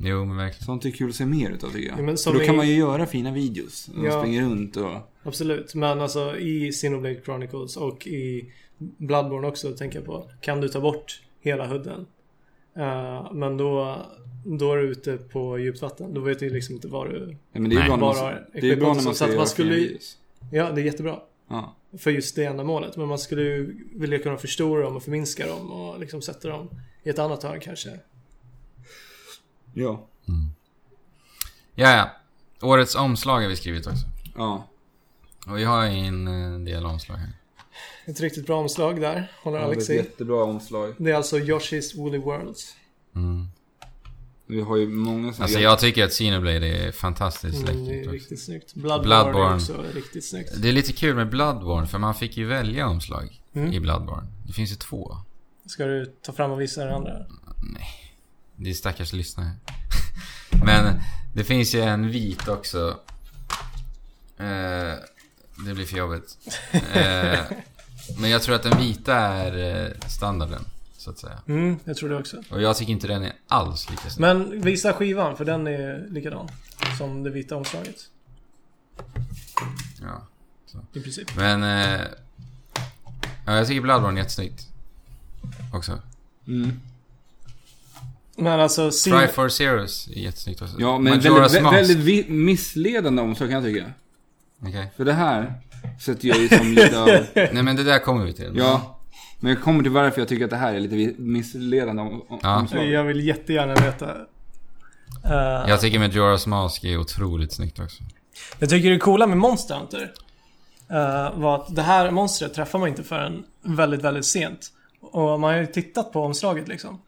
[SPEAKER 2] Jo, men verkligen.
[SPEAKER 1] sånt är kul att se mer utav tycker jag.
[SPEAKER 3] Ja, men
[SPEAKER 1] För
[SPEAKER 3] som
[SPEAKER 1] då kan
[SPEAKER 3] i-
[SPEAKER 1] man ju göra fina videos. när Man
[SPEAKER 3] Ja.
[SPEAKER 1] springer runt och...
[SPEAKER 3] Absolut, men alltså i Xenoblade Chronicles och i Bloodborne också tänker jag på. Kan du ta bort hela hudden? Eh, men då, då är du ute på djupt vatten. Då vet du liksom inte var du...
[SPEAKER 1] Ja, men det är ju
[SPEAKER 2] Nej.
[SPEAKER 1] bra när man,
[SPEAKER 3] Bara
[SPEAKER 1] det är ju bra när man
[SPEAKER 3] equipment
[SPEAKER 1] ska
[SPEAKER 3] som- så att man
[SPEAKER 1] göra
[SPEAKER 3] skulle-
[SPEAKER 1] fina videos.
[SPEAKER 3] Ja, det är jättebra.
[SPEAKER 1] Ja.
[SPEAKER 3] För just det ändamålet. Men man skulle ju vilja kunna förstora dem och förminska dem och liksom sätta dem i ett annat hörn kanske.
[SPEAKER 1] Ja.
[SPEAKER 2] Ja, ja. Årets omslag har vi skrivit också.
[SPEAKER 1] Ja.
[SPEAKER 2] Och vi har ju en eh, del omslag här.
[SPEAKER 3] Ett riktigt bra omslag där, håller
[SPEAKER 1] Det är ett
[SPEAKER 3] Alex i.
[SPEAKER 1] jättebra omslag.
[SPEAKER 3] Det är alltså Yoshi's Woolly Worlds.
[SPEAKER 2] Mm.
[SPEAKER 1] Vi har ju många sådana
[SPEAKER 2] Alltså jag tycker att Xenoblade är fantastiskt
[SPEAKER 3] Mm, det
[SPEAKER 2] läckert
[SPEAKER 3] är
[SPEAKER 2] också.
[SPEAKER 3] riktigt snyggt. Bloodborne,
[SPEAKER 2] Bloodborne.
[SPEAKER 3] är också riktigt snyggt.
[SPEAKER 2] Det är lite kul med Bloodborne för man fick ju välja omslag
[SPEAKER 3] Mm.
[SPEAKER 2] i Bloodborne. Det finns ju två.
[SPEAKER 3] Ska du ta fram och visa den andra?
[SPEAKER 2] Det är stackars lyssnare. Men det finns ju en vit också. Eh, det blir för jobbigt. Eh, men jag tror att den vita är eh, standarden, så att säga.
[SPEAKER 3] Mm, jag tror det också.
[SPEAKER 2] Och jag tycker inte den är alls lika snygg.
[SPEAKER 3] Men visa skivan, för den är likadan. Som det vita omslaget.
[SPEAKER 2] Ja.
[SPEAKER 3] I princip.
[SPEAKER 2] Men... Eh, ja, jag tycker Bloodborne är jättesnyggt. Också.
[SPEAKER 1] Mm.
[SPEAKER 3] Men alltså, se...
[SPEAKER 2] Try for Zeros är jättesnyggt också.
[SPEAKER 1] Ja, men
[SPEAKER 2] Majora's
[SPEAKER 1] väldigt, vä-
[SPEAKER 2] Mask.
[SPEAKER 1] väldigt vi- missledande omslag kan jag tycka.
[SPEAKER 2] Okej.
[SPEAKER 1] För det här sätter jag ju som lite över.
[SPEAKER 2] Nej, men det där kommer vi till.
[SPEAKER 1] Ja. Men jag kommer till varför jag tycker att det här är lite vi- missledande om, om,
[SPEAKER 2] Ja.
[SPEAKER 1] omslag.
[SPEAKER 3] Jag vill jättegärna veta. Eh,
[SPEAKER 2] Jag tycker Majora's Mask är otroligt snyggt också.
[SPEAKER 3] Jag tycker det coola med Monster Hunter eh, var att det här monstret träffar man inte förrän väldigt, väldigt sent. Och man har ju tittat på omslaget liksom.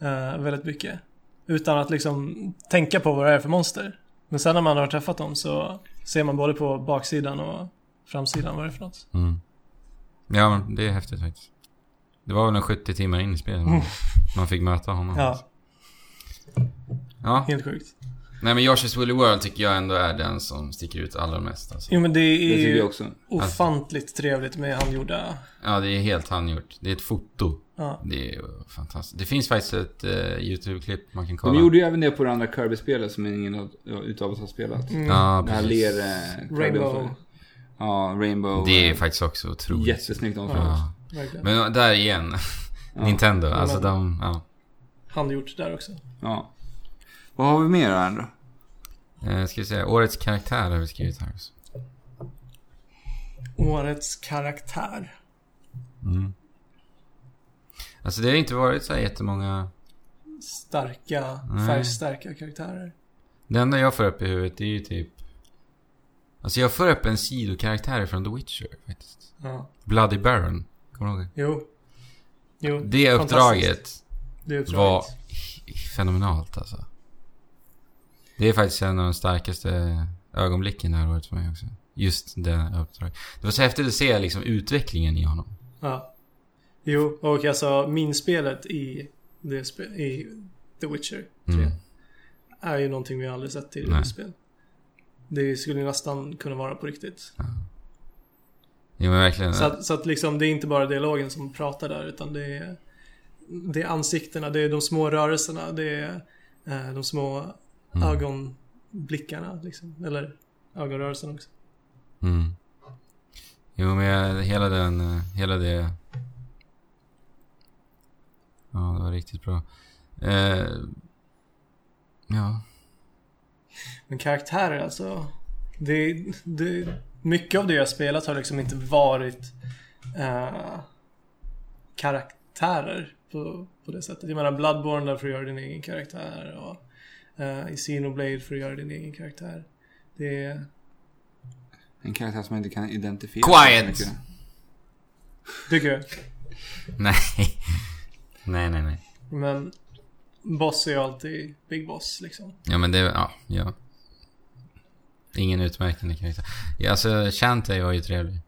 [SPEAKER 3] eh, väldigt mycket. Utan att liksom tänka på vad det är för monster. Men sen när man har träffat dem så ser man både på baksidan och framsidan vad det är för något.
[SPEAKER 2] Mm. Ja, men det är häftigt faktiskt. Det var väl en 70 timmar in i spelet man, man fick möta honom.
[SPEAKER 3] Ja,
[SPEAKER 2] Ja.
[SPEAKER 3] helt sjukt.
[SPEAKER 2] Nej, men Yoshi's Woolly World tycker jag ändå är den som sticker ut allra mest. Alltså.
[SPEAKER 3] Jo men det
[SPEAKER 1] Det
[SPEAKER 3] är
[SPEAKER 1] tycker jag
[SPEAKER 3] ju
[SPEAKER 1] också.
[SPEAKER 3] ofantligt trevligt med handgjorda...
[SPEAKER 2] Ja, det är helt handgjort. Det är ett foto.
[SPEAKER 3] Ja.
[SPEAKER 2] Det är ju fantastiskt. Det finns faktiskt ett eh, YouTube-klipp man kan kolla.
[SPEAKER 1] De gjorde ju även det på det andra Kirby-spelet som ingen av- utav oss har spelat.
[SPEAKER 2] Ja,
[SPEAKER 1] Det här
[SPEAKER 2] precis.
[SPEAKER 1] ler... eh, Kirby
[SPEAKER 3] Rainbow.
[SPEAKER 1] omslaget. Ja, Rainbow.
[SPEAKER 2] Det är
[SPEAKER 1] eh,
[SPEAKER 2] faktiskt också otroligt.
[SPEAKER 1] Jättesnyggt omslag.
[SPEAKER 2] Ja.
[SPEAKER 3] Verkligen.
[SPEAKER 2] Men där igen. Nintendo. Alltså
[SPEAKER 3] Men-
[SPEAKER 2] de... Ja.
[SPEAKER 3] Handgjort där också.
[SPEAKER 1] Ja. Vad har vi mer här då?
[SPEAKER 2] Eh, ska vi säga, årets karaktär har vi skrivit här också.
[SPEAKER 3] Årets karaktär.
[SPEAKER 1] Mm.
[SPEAKER 2] Alltså det har inte varit så här jättemånga...
[SPEAKER 3] Starka,
[SPEAKER 2] Nej.
[SPEAKER 3] färgstarka karaktärer.
[SPEAKER 2] Det enda jag får upp i huvudet är ju typ... Alltså jag får upp en sidokaraktär från The Witcher faktiskt.
[SPEAKER 3] Ja.
[SPEAKER 2] Bloody Baron. Kommer du ihåg
[SPEAKER 3] Jo. Jo.
[SPEAKER 2] det? Det uppdraget
[SPEAKER 3] Det uppdraget.
[SPEAKER 2] var fenomenalt alltså. Det är faktiskt en av de starkaste ögonblicken det här året för mig också. Just det uppdraget. Det var så häftigt att se liksom utvecklingen i honom.
[SPEAKER 3] Ja. Jo, och alltså minspelet i, det spe, i The Witcher 3
[SPEAKER 2] Mm.
[SPEAKER 3] är ju någonting vi aldrig sett tidigare
[SPEAKER 2] Nej.
[SPEAKER 3] i spel. Det skulle ju nästan kunna vara på riktigt.
[SPEAKER 2] Jo men verkligen.
[SPEAKER 3] Så, att, så att liksom det är inte bara dialogen som pratar där utan det är, det är ansiktena, det är de små rörelserna, det är eh, de små ögonblickarna liksom. Eller ögonrörelserna också.
[SPEAKER 2] Mm. Jo, men jag, hela den... eh, Hela det... Ja, det var riktigt bra. Eh, ja.
[SPEAKER 3] Men karaktärer alltså. Det, det, mycket av det jag spelat har liksom inte varit eh, karaktärer på, på det sättet. Jag menar Bloodborne där får du göra din egen karaktär och eh, i Xenoblade får du göra din egen karaktär. Det är...
[SPEAKER 1] En karaktär som man inte kan identifiera.
[SPEAKER 2] Quiet!
[SPEAKER 1] så mycket.
[SPEAKER 3] Tycker du?
[SPEAKER 2] Nej. nej, nej, nej.
[SPEAKER 3] Men Boss är ju alltid Big Boss liksom.
[SPEAKER 2] Ja, men det... Ja, ja. Ingen utmärkande karaktär. Ja, alltså, Shanty var ju trevlig.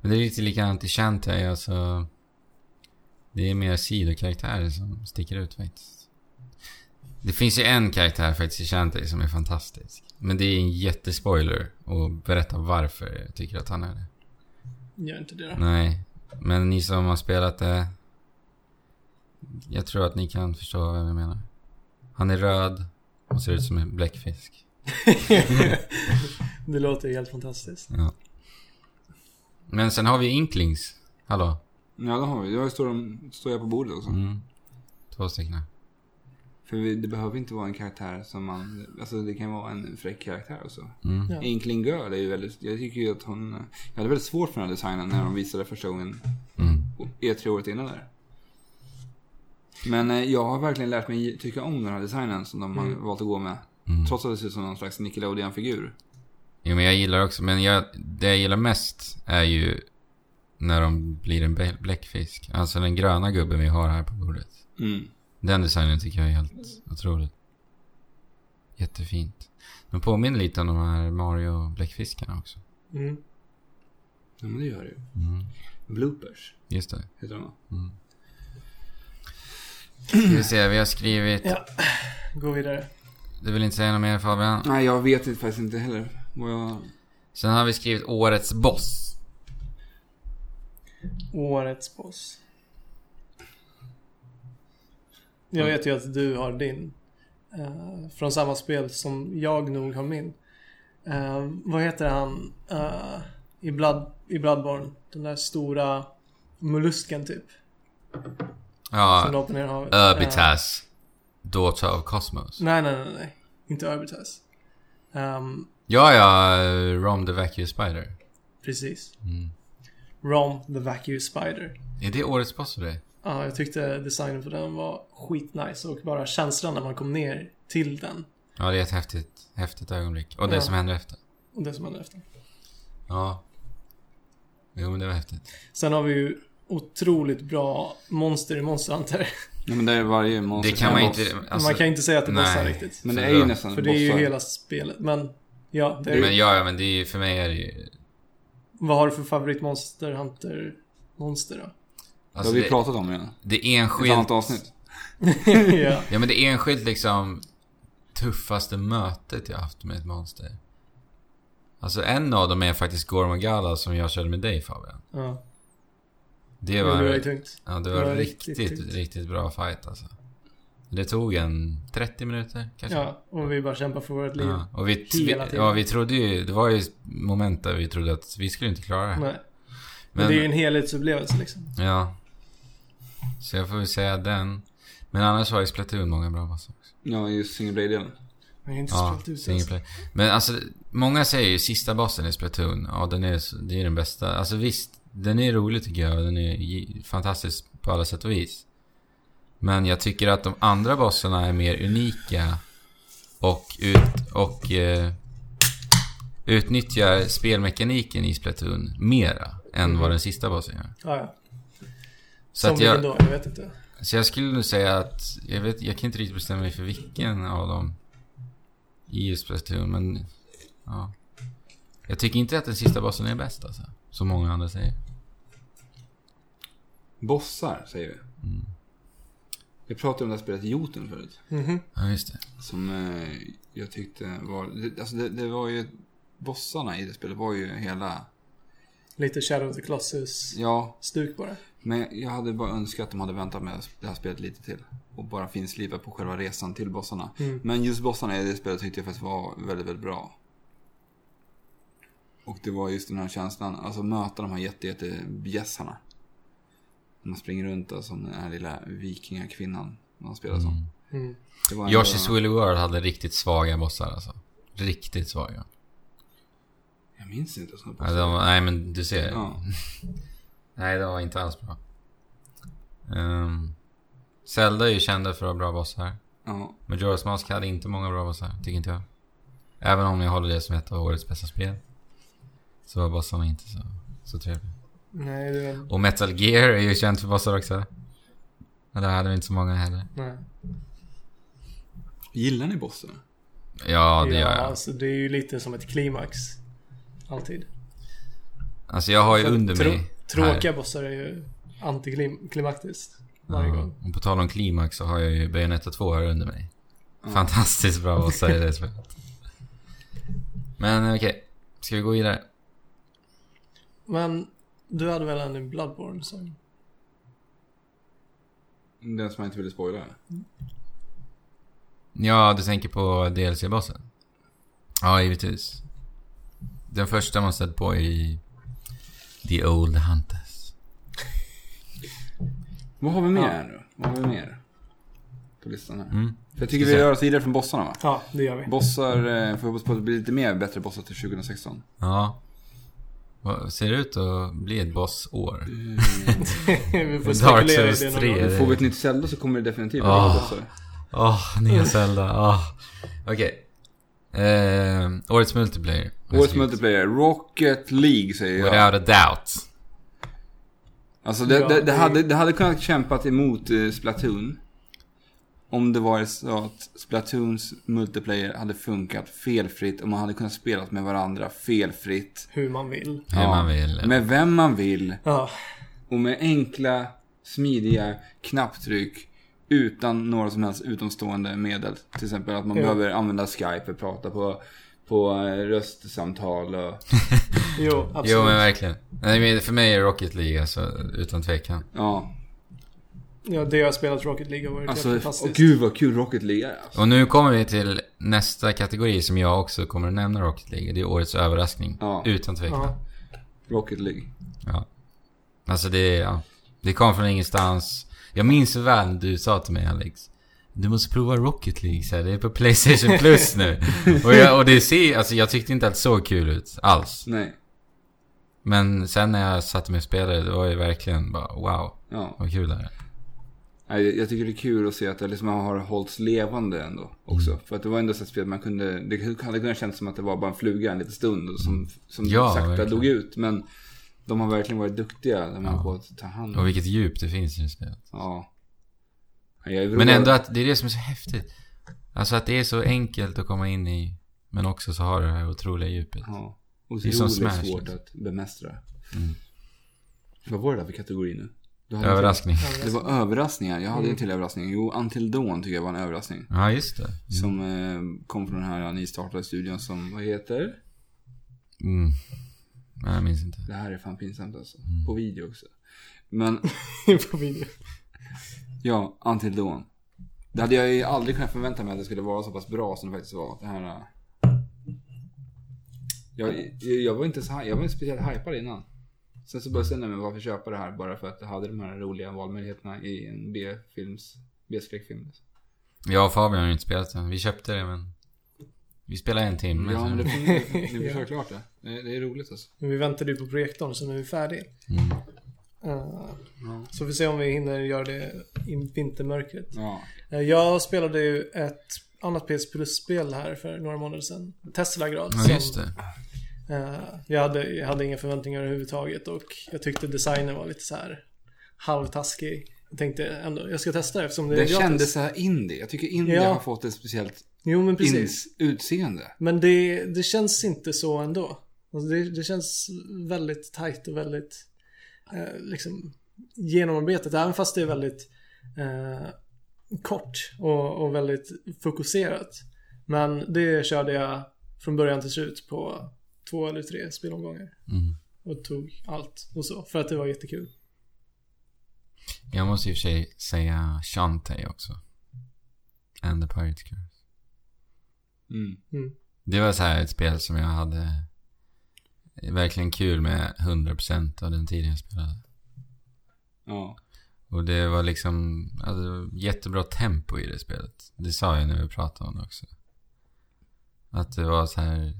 [SPEAKER 2] Men det är lite likadant i Shanty, alltså... Det är mer sidokaraktärer som sticker ut faktiskt. Det finns ju en karaktär faktiskt i Shanty som är fantastisk. Men det är en jättespoiler att berätta varför jag tycker att han är det.
[SPEAKER 3] Gör inte det då.
[SPEAKER 2] Nej, men ni som har spelat det... Jag tror att ni kan förstå vad jag menar. Han är röd och ser ut som en bläckfisk.
[SPEAKER 3] det låter ju helt fantastiskt.
[SPEAKER 2] Ja. Men sen har vi Inklings. Hallå?
[SPEAKER 1] Ja, det har vi. Jag står, de- står jag på bordet också.
[SPEAKER 2] Mm. Två stycken. här.
[SPEAKER 1] För vi, det behöver inte vara en karaktär som man... Alltså det kan vara en fräck karaktär också.
[SPEAKER 2] Mm.
[SPEAKER 3] Ja.
[SPEAKER 1] Inkling Girl är ju väldigt... Jag tycker ju att hon... Jag hade väldigt svårt för den här designen när de visade första gången
[SPEAKER 2] Mm.
[SPEAKER 1] E3 året innan där. Men eh, jag har verkligen lärt mig tycka om den här designen som de har valt att gå med.
[SPEAKER 2] Mm.
[SPEAKER 1] Trots att det ser ut som någon slags Nickelodeon-figur.
[SPEAKER 2] Jo, men jag gillar också, men jag, det jag gillar mest är ju när de blir en bä- bläckfisk. Alltså den gröna gubben vi har här på bordet.
[SPEAKER 1] Mm.
[SPEAKER 2] Den designen tycker jag är helt otroligt. Jättefint. De påminner lite om de här Mario bläckfiskarna också.
[SPEAKER 3] Mm.
[SPEAKER 1] Ja, men det gör det ju.
[SPEAKER 2] Mm.
[SPEAKER 1] Bloopers
[SPEAKER 2] Just det.
[SPEAKER 1] heter de va?
[SPEAKER 2] Ska vi se, vi har skrivit...
[SPEAKER 3] Ja. Gå vidare.
[SPEAKER 2] Du vill inte säga något mer Fabian?
[SPEAKER 1] Nej, jag vet inte, faktiskt inte heller vad jag...
[SPEAKER 2] Sen har vi skrivit årets boss.
[SPEAKER 3] Årets Boss. Jag vet ju att du har din. eh, från samma spel som jag nog har min. Eh, vad heter han eh, i, Blood, i Bloodborne? Den där stora mollusken typ. Som
[SPEAKER 2] Ja,
[SPEAKER 3] la på ner i havet. Eh,
[SPEAKER 2] Ah, Urbitas. Daughter of Cosmos.
[SPEAKER 3] nej, nej, nej, nej. Inte Urbitas. Ehm,
[SPEAKER 2] Ja, ja. eh, Rom the Vacuum Spider.
[SPEAKER 3] precis.
[SPEAKER 2] Mm.
[SPEAKER 3] Rom the Vacuum Spider.
[SPEAKER 2] Är det årets boss för dig?
[SPEAKER 3] Ja, jag tyckte designen på den var skitnice och bara känslan när man kom ner till den
[SPEAKER 2] Ja, det är ett häftigt, häftigt ögonblick. Och det
[SPEAKER 3] Ja.
[SPEAKER 2] som händer efter.
[SPEAKER 3] och det som hände efter.
[SPEAKER 2] Ja. Jo, men det var häftigt.
[SPEAKER 3] Sen har vi ju otroligt bra monster i Monster Hunter.
[SPEAKER 1] Nej, men det är varje monster.
[SPEAKER 2] Det kan man
[SPEAKER 1] en
[SPEAKER 2] inte...
[SPEAKER 1] boss.
[SPEAKER 2] Alltså,
[SPEAKER 3] man kan inte säga att det är bossar
[SPEAKER 2] nej.
[SPEAKER 3] riktigt.
[SPEAKER 1] Men det
[SPEAKER 2] Så
[SPEAKER 1] är
[SPEAKER 2] bra.
[SPEAKER 1] ju nästan
[SPEAKER 3] För det är ju
[SPEAKER 1] bossar.
[SPEAKER 3] hela spelet. Men ja, det är,
[SPEAKER 2] Men ja, ja, men det är ju, för mig är det ju...
[SPEAKER 3] vad har du för favorit Monster Hunter-monster då?
[SPEAKER 1] Det har
[SPEAKER 2] Alltså,
[SPEAKER 1] vi
[SPEAKER 2] det,
[SPEAKER 1] pratat om redan.
[SPEAKER 2] det
[SPEAKER 1] I ett
[SPEAKER 2] enskilt...
[SPEAKER 1] annat avsnitt.
[SPEAKER 3] ja.
[SPEAKER 2] Ja, men det enskilt liksom tuffaste mötet jag haft med ett monster. Alltså en av dem är faktiskt Gormagala som jag körde med dig Fabian.
[SPEAKER 3] ja.
[SPEAKER 2] Det
[SPEAKER 3] Det var,
[SPEAKER 2] var,
[SPEAKER 3] det var ju tungt.
[SPEAKER 2] ja, det var, riktigt, riktigt, bra fight alltså. Det tog en 30 minuter kanske.
[SPEAKER 3] Ja, och vi bara kämpar för vårt liv.
[SPEAKER 2] Ja, och vi,
[SPEAKER 3] Hela
[SPEAKER 2] vi,
[SPEAKER 3] tiden.
[SPEAKER 2] ja, vi trodde ju, det var ju moment där vi trodde att vi skulle inte klara det. här.
[SPEAKER 3] Nej. Men det är ju en helhetsupplevelse liksom.
[SPEAKER 2] Ja. Så jag får väl säga den. Men annars har ju Splatoon många bra alltså. bossar.
[SPEAKER 1] Ja, just single Blade-delen.
[SPEAKER 3] Men jag har inte
[SPEAKER 2] Ja,
[SPEAKER 3] spelat ut
[SPEAKER 2] single
[SPEAKER 3] alltså.
[SPEAKER 2] player. Men alltså, många säger ju sista bossen i Splatoon, ja den är, så- det är den bästa. Alltså visst, den är rolig tycker jag och den är gi- fantastisk på alla sätt och vis. Men jag tycker att de andra bossarna är mer unika och, ut, och eh, utnyttjar spelmekaniken i Splatoon mera än vad den sista bossen gör.
[SPEAKER 3] Ja, ja.
[SPEAKER 2] Så,
[SPEAKER 3] Som
[SPEAKER 2] att jag,
[SPEAKER 3] vilken då? Jag vet inte.
[SPEAKER 2] så jag skulle nog säga att, jag, vet, jag kan inte riktigt bestämma mig för vilken av dem i Splatoon, men ja. Jag tycker inte att den sista bossen är bäst alltså. Som många andra säger.
[SPEAKER 1] Bossar, säger vi. Jag pratade om det här spelet Jotun förut.
[SPEAKER 3] Mhm.
[SPEAKER 2] Ja, just det.
[SPEAKER 1] Som eh, jag tyckte var... Det, alltså det, det var ju... Bossarna i det spelet var ju hela...
[SPEAKER 3] Lite Shadow of the Colossus
[SPEAKER 1] Ja,
[SPEAKER 3] stuk bara.
[SPEAKER 1] men jag hade bara önskat att de hade väntat med det här spelet lite till. Och bara finslipat på själva resan till bossarna. Men just bossarna i det spelet tyckte jag faktiskt var väldigt, väldigt bra. Och det var just den här känslan, alltså möta de här jätte, jätte bjässarna. Man springer runt där som den här lilla vikingakvinnan man spelar som.
[SPEAKER 3] Mm.
[SPEAKER 1] Det var en-
[SPEAKER 2] Yoshi's Willy World hade riktigt svaga bossar alltså. Riktigt svaga.
[SPEAKER 1] Jag minns inte sådana
[SPEAKER 2] Ja,
[SPEAKER 1] bossar.
[SPEAKER 2] de, nej men du ser.
[SPEAKER 1] Ja.
[SPEAKER 2] Nej, det var inte alls bra. Um, Zelda är ju kända för att ha bra bossar.
[SPEAKER 1] ja.
[SPEAKER 2] Majora's Mask hade inte många bra bossar, tycker inte jag. Även om jag håller det som ett av årets bästa spel. Så var bossarna inte så, så trevliga.
[SPEAKER 3] Nej, det var...
[SPEAKER 2] Och Metal Gear är ju känt för bossar också. Men där hade vi inte så många heller.
[SPEAKER 3] Nej.
[SPEAKER 1] Gillar ni bossen?
[SPEAKER 2] Ja, det gör jag.
[SPEAKER 3] Alltså, det är ju lite som ett klimax. Alltid.
[SPEAKER 2] Alltså jag har ju
[SPEAKER 3] För
[SPEAKER 2] under
[SPEAKER 3] trå-
[SPEAKER 2] mig
[SPEAKER 3] Tråkiga bossar är ju antiklimaktiskt. Varje
[SPEAKER 2] Ja,
[SPEAKER 3] gång.
[SPEAKER 2] Och på tal om klimax så har jag ju Bayonetta 2 här under mig. Fantastiskt bra bossar i det spelet. Men eh, okej, ska vi gå vidare?
[SPEAKER 3] Men du hade väl en i Bloodborne som...
[SPEAKER 1] Den som jag inte ville spoila.
[SPEAKER 2] Ja, du tänker på DLC-bossen? Ja, givetvis. Den första man stött på i The Old Hunters.
[SPEAKER 1] Vad har vi mer här nu? Vad har vi mer? På listan här.
[SPEAKER 2] Mm.
[SPEAKER 1] För jag tycker vi rör oss vidare från bossarna va?
[SPEAKER 3] Ja, det gör vi.
[SPEAKER 1] Bossar, eh, får hoppas på att det blir lite mer bättre bossar till 2016.
[SPEAKER 2] Ja. Vad- Ser det ut att bli ett bossår?
[SPEAKER 3] vi får
[SPEAKER 2] Dark
[SPEAKER 3] spekulera i
[SPEAKER 2] Souls
[SPEAKER 3] det någon
[SPEAKER 2] 3.
[SPEAKER 3] gång.
[SPEAKER 1] Får vi ett nytt Zelda så kommer det definitivt bli
[SPEAKER 2] Ah.
[SPEAKER 1] bossar.
[SPEAKER 2] Åh, nya Zelda. Åh. Okej. Eh, årets multiplayer.
[SPEAKER 1] Årets multiplayer, Rocket League säger jag.
[SPEAKER 2] Without a doubt.
[SPEAKER 1] Alltså det, det,
[SPEAKER 3] Ja,
[SPEAKER 1] det,
[SPEAKER 3] det-
[SPEAKER 1] hade, det hade kunnat kämpat emot eh, Splatoon. Om det var så att Splatoons multiplayer hade funkat felfritt och man hade kunnat spela med varandra felfritt.
[SPEAKER 3] Hur man vill.
[SPEAKER 2] Hur man vill.
[SPEAKER 1] Med vem man vill
[SPEAKER 3] Ja,
[SPEAKER 1] och med enkla, smidiga knapptryck utan några som helst utomstående medel. Till exempel att man
[SPEAKER 3] Ja.
[SPEAKER 1] behöver använda Skype och prata på, på eh, röstsamtal och...
[SPEAKER 3] jo, absolut.
[SPEAKER 2] Jo men verkligen. Nej, men för mig är Rocket League alltså, utan tvekan.
[SPEAKER 1] Ja,
[SPEAKER 3] Ja, det jag har spelat Rocket League har varit
[SPEAKER 1] alltså...
[SPEAKER 3] helt
[SPEAKER 1] Åh,
[SPEAKER 3] fantastiskt.
[SPEAKER 1] gud vad kul Rocket League är. Alltså.
[SPEAKER 2] Och nu kommer vi till nästa kategori som jag också kommer att nämna Rocket League. Det är årets överraskning.
[SPEAKER 1] Ja.
[SPEAKER 2] Utan tvekan.
[SPEAKER 3] ja.
[SPEAKER 1] Rocket League.
[SPEAKER 2] Alltså det, ja. det kom från ingenstans. Jag minns så väl när du sa till mig Alex. Du måste prova Rocket League så här. Det är på Playstation Plus nu. och, jag, och det ser, alltså jag tyckte inte att det såg kul ut alls.
[SPEAKER 1] Nej.
[SPEAKER 2] Men sen när jag satte mig och spelade, det var ju verkligen bara wow.
[SPEAKER 1] Ja.
[SPEAKER 2] Vad kul det här är.
[SPEAKER 1] Nej, jag- jag tycker det är kul att se att det liksom har hållits levande ändå också.
[SPEAKER 2] Mm.
[SPEAKER 1] För att det var ändå så ett spel man kunde, det hade kunnat kännas som att det var bara en fluga en liten stund och som, som
[SPEAKER 2] Ja,
[SPEAKER 1] sakta
[SPEAKER 2] verkligen.
[SPEAKER 1] dog ut. Men de har verkligen varit duktiga när man
[SPEAKER 2] Ja.
[SPEAKER 1] på att ta hand
[SPEAKER 2] Och
[SPEAKER 1] om.
[SPEAKER 2] vilket djup det finns i det spelet.
[SPEAKER 1] Ja. Nej, Jag är
[SPEAKER 2] Men
[SPEAKER 1] road.
[SPEAKER 2] ändå att det är det som är så häftigt. Alltså att det är så enkelt att komma in i. Men också så har det här otroliga djupet.
[SPEAKER 1] Ja.
[SPEAKER 2] Det är som
[SPEAKER 1] Otroligt
[SPEAKER 2] Smash,
[SPEAKER 1] svårt
[SPEAKER 2] liksom.
[SPEAKER 1] att bemästra.
[SPEAKER 2] Mm.
[SPEAKER 1] Vad var det där för kategori nu? Du hade en till.
[SPEAKER 2] Överraskning.
[SPEAKER 1] Det var överraskningar. Jag hade
[SPEAKER 2] Mm.
[SPEAKER 1] en till överrassning. Jo, Until Dawn tycker jag var en överraskning.
[SPEAKER 2] Ja, just det.
[SPEAKER 1] Som eh, kom från den här nystartade studion som, vad heter?
[SPEAKER 2] Mm. Nej, jag minns inte.
[SPEAKER 1] Det här är fan pinsamt alltså.
[SPEAKER 2] Mm.
[SPEAKER 1] På video också. Men
[SPEAKER 3] på video.
[SPEAKER 1] ja, Until Dawn. Det hade jag ju aldrig kunnat förvänta mig att det skulle vara så pass bra som det faktiskt var. Det här... eh, Jag, jag, jag var inte så hy- jag var inte speciellt hypad innan. Sen så bestämde jag mig varför köpa det här bara för att det hade de här roliga valmöjligheterna i en B-films, B-skräckfilm.
[SPEAKER 2] Jag och Fabian har ju inte spelat den. Vi köpte det men... Vi spelade en timme.
[SPEAKER 1] Ja,
[SPEAKER 2] så-
[SPEAKER 1] men det, ni
[SPEAKER 3] Ja.
[SPEAKER 1] försöker klart det. det. Det är roligt alltså.
[SPEAKER 3] Men vi väntar ju på projektorn så nu är vi färdiga.
[SPEAKER 2] Mm.
[SPEAKER 3] Eh,
[SPEAKER 1] Ja.
[SPEAKER 3] Så vi får se om vi hinner göra det i vintermörkret.
[SPEAKER 1] Ja,
[SPEAKER 3] Eh, Jag spelade ju ett annat PS Plus-spel här för några månader sedan. Tesla-grad.
[SPEAKER 2] Ja, just det.
[SPEAKER 3] eh, jag, hade, jag hade inga förväntningar överhuvudtaget och jag tyckte designen var lite så här halvtaskig. Jag tänkte ändå, jag ska testa eftersom det är
[SPEAKER 1] Det
[SPEAKER 3] gratis.
[SPEAKER 1] kändes så här indie. Jag tycker indie
[SPEAKER 3] Ja.
[SPEAKER 1] har fått ett speciellt
[SPEAKER 3] Jo men precis.
[SPEAKER 1] ins- utseende.
[SPEAKER 3] Men det, det känns inte så ändå. Alltså det, det känns väldigt tajt och väldigt eh, liksom, genomarbetat. Även fast det är väldigt eh, kort och, och väldigt fokuserat. Men det körde jag från början till slut på två eller tre spelomgångar.
[SPEAKER 2] Mm.
[SPEAKER 3] Och tog allt och så. För att det var jättekul.
[SPEAKER 2] Jag måste i och för sig säga Shantae också. And the Pirate Curse.
[SPEAKER 1] Mm.
[SPEAKER 2] Det var så här ett spel som jag hade verkligen kul med 100% av den tiden jag spelade.
[SPEAKER 1] Ja.
[SPEAKER 2] Och det var liksom alltså, jättebra tempo i det spelet. Det sa jag när vi pratade om det också. Att det var så här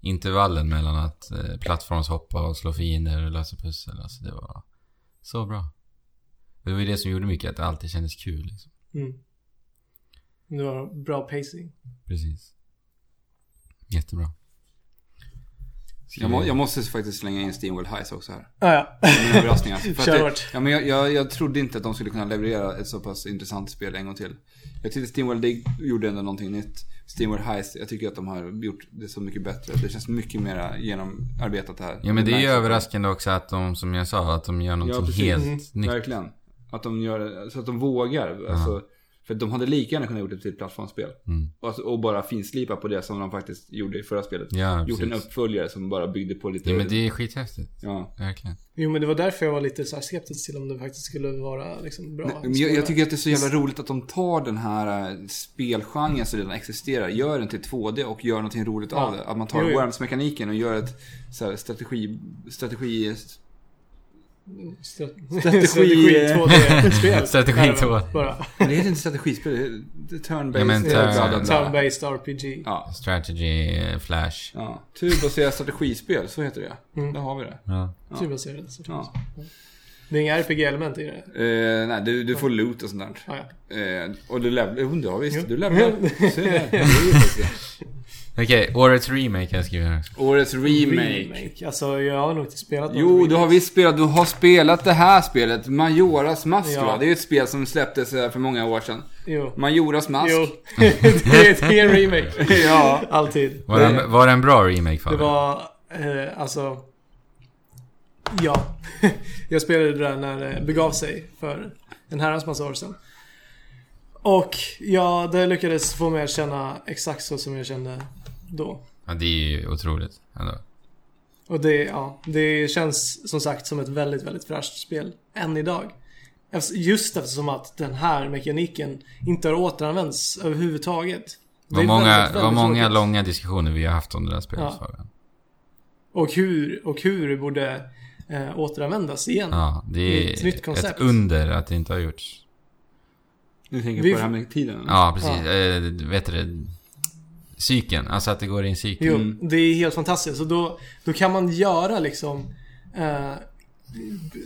[SPEAKER 2] intervallen mellan att eh, plattformshoppa och slå fiender och lösa pussel. Alltså det var så bra. Det var ju det som gjorde mycket, att det alltid kändes kul. Liksom.
[SPEAKER 3] Mm. Det var bra pacing.
[SPEAKER 2] Precis. Jättebra.
[SPEAKER 1] Jag, må, jag måste faktiskt slänga in Steamworld Heist också här.
[SPEAKER 3] Ah, ja.
[SPEAKER 1] Min överraskning alltså. För att
[SPEAKER 3] Kör
[SPEAKER 1] det-
[SPEAKER 3] hårt.
[SPEAKER 1] ja, men jag, jag, jag trodde inte att de skulle kunna leverera ett så pass intressant spel en gång till. Jag tyckte Steamworld Dig gjorde ändå någonting nytt. Steamworld Heist, jag tycker att de har gjort det så mycket bättre. Det känns mycket mer genomarbetat det här.
[SPEAKER 2] Ja men det är ju
[SPEAKER 1] märks.
[SPEAKER 2] överraskande också att de, som jag sa, att de gör någonting
[SPEAKER 1] precis.
[SPEAKER 2] helt nytt.
[SPEAKER 1] Verkligen. Att de gör så att de vågar. Alltså, för att de hade lika gärna kunnat gjort det till ett plattformsspel.
[SPEAKER 2] Mm.
[SPEAKER 1] Och, att- och bara finslipa på det som de faktiskt gjorde i förra spelet.
[SPEAKER 2] Ja,
[SPEAKER 1] gjort en
[SPEAKER 2] precis.
[SPEAKER 1] uppföljare som bara byggde på lite...
[SPEAKER 2] Ja, men det är skithäftigt.
[SPEAKER 1] ja.
[SPEAKER 2] Verkligen.
[SPEAKER 3] Jo men det var därför jag var lite så här skeptisk till om det faktiskt skulle vara liksom bra.
[SPEAKER 1] Nej, men jag, jag tycker att det är så jävla roligt att de tar den här eh, spelgenren som redan existerar, gör den till 2D och gör någonting roligt av
[SPEAKER 3] Ja.
[SPEAKER 1] det. Att man tar
[SPEAKER 3] Jo, jo.
[SPEAKER 1] Worms-mekaniken och gör ett så här, strategi... strategi...
[SPEAKER 3] Stra-
[SPEAKER 1] Strategi-
[SPEAKER 3] Strategi 2D-spel.
[SPEAKER 2] Strategi
[SPEAKER 3] är det väl
[SPEAKER 2] 2D.
[SPEAKER 3] Bara.
[SPEAKER 1] Men det heter inte strategispel, det är- det är turn-based.
[SPEAKER 2] Ja, men
[SPEAKER 1] bla, bla, bla, bla.
[SPEAKER 3] Turn-based RPG.
[SPEAKER 1] Ja.
[SPEAKER 2] Strategy, eh, flash.
[SPEAKER 1] ja. Turbaserat strategispel, så heter det.
[SPEAKER 3] Mm.
[SPEAKER 1] Där har vi det.
[SPEAKER 2] Ja.
[SPEAKER 3] Ja. Turbaserad sortering.
[SPEAKER 1] Ja.
[SPEAKER 3] Det är inga RPG-element i det.
[SPEAKER 1] Eh, nej, du, du får loot och sånt där.
[SPEAKER 3] Ah, ja.
[SPEAKER 1] Eh, och du levlar. Jo, du har visst.
[SPEAKER 3] Ja.
[SPEAKER 1] Du levlar. Se där. Det är ju faktiskt det.
[SPEAKER 2] Okej, årets remake har jag skrivit här också.
[SPEAKER 1] Årets remake.
[SPEAKER 3] Remake. Alltså jag har nog inte spelat någon
[SPEAKER 1] Jo,
[SPEAKER 3] remake.
[SPEAKER 1] du har visst spelat. Du har spelat det här spelet. Majoras mask
[SPEAKER 3] Ja.
[SPEAKER 1] va? Det är ju ett spel som släpptes eh, för många år sedan.
[SPEAKER 3] Jo.
[SPEAKER 1] Majoras mask.
[SPEAKER 3] jo. det, är, det är en remake.
[SPEAKER 1] ja.
[SPEAKER 3] Alltid.
[SPEAKER 2] Var
[SPEAKER 3] det,
[SPEAKER 2] det, var det en bra remake för
[SPEAKER 3] det var... Eh, alltså... Ja. jag spelade det där när det begav sig för en herrans massa år sedan. Och ja, det lyckades få mig att känna exakt så som jag kände då.
[SPEAKER 2] Ja, det är ju otroligt. Ändå.
[SPEAKER 3] Och det, ja, det känns som sagt som ett väldigt, väldigt fräscht spel än idag. Efter- Just eftersom att den här mekaniken inte har återanvänts överhuvudtaget.
[SPEAKER 2] Det
[SPEAKER 3] är
[SPEAKER 2] var många,
[SPEAKER 3] väldigt, väldigt
[SPEAKER 2] var många
[SPEAKER 3] tråkigt.
[SPEAKER 2] långa diskussioner vi har haft om det där spelet
[SPEAKER 3] Ja.
[SPEAKER 2] förut.
[SPEAKER 3] Och hur, och hur det borde eh, återanvändas igen.
[SPEAKER 2] Ja, det är
[SPEAKER 3] Ett nytt
[SPEAKER 2] ett,
[SPEAKER 3] koncept.
[SPEAKER 2] under att det inte har gjorts.
[SPEAKER 1] Nu tänker
[SPEAKER 3] Vi-
[SPEAKER 1] på det här med tiden.
[SPEAKER 2] Ja, precis. Eh, vet du det? Cykeln, alltså att det går i en cykel.
[SPEAKER 3] Jo,
[SPEAKER 1] Mm.
[SPEAKER 3] det är helt fantastiskt. Och då, då kan man göra liksom eh,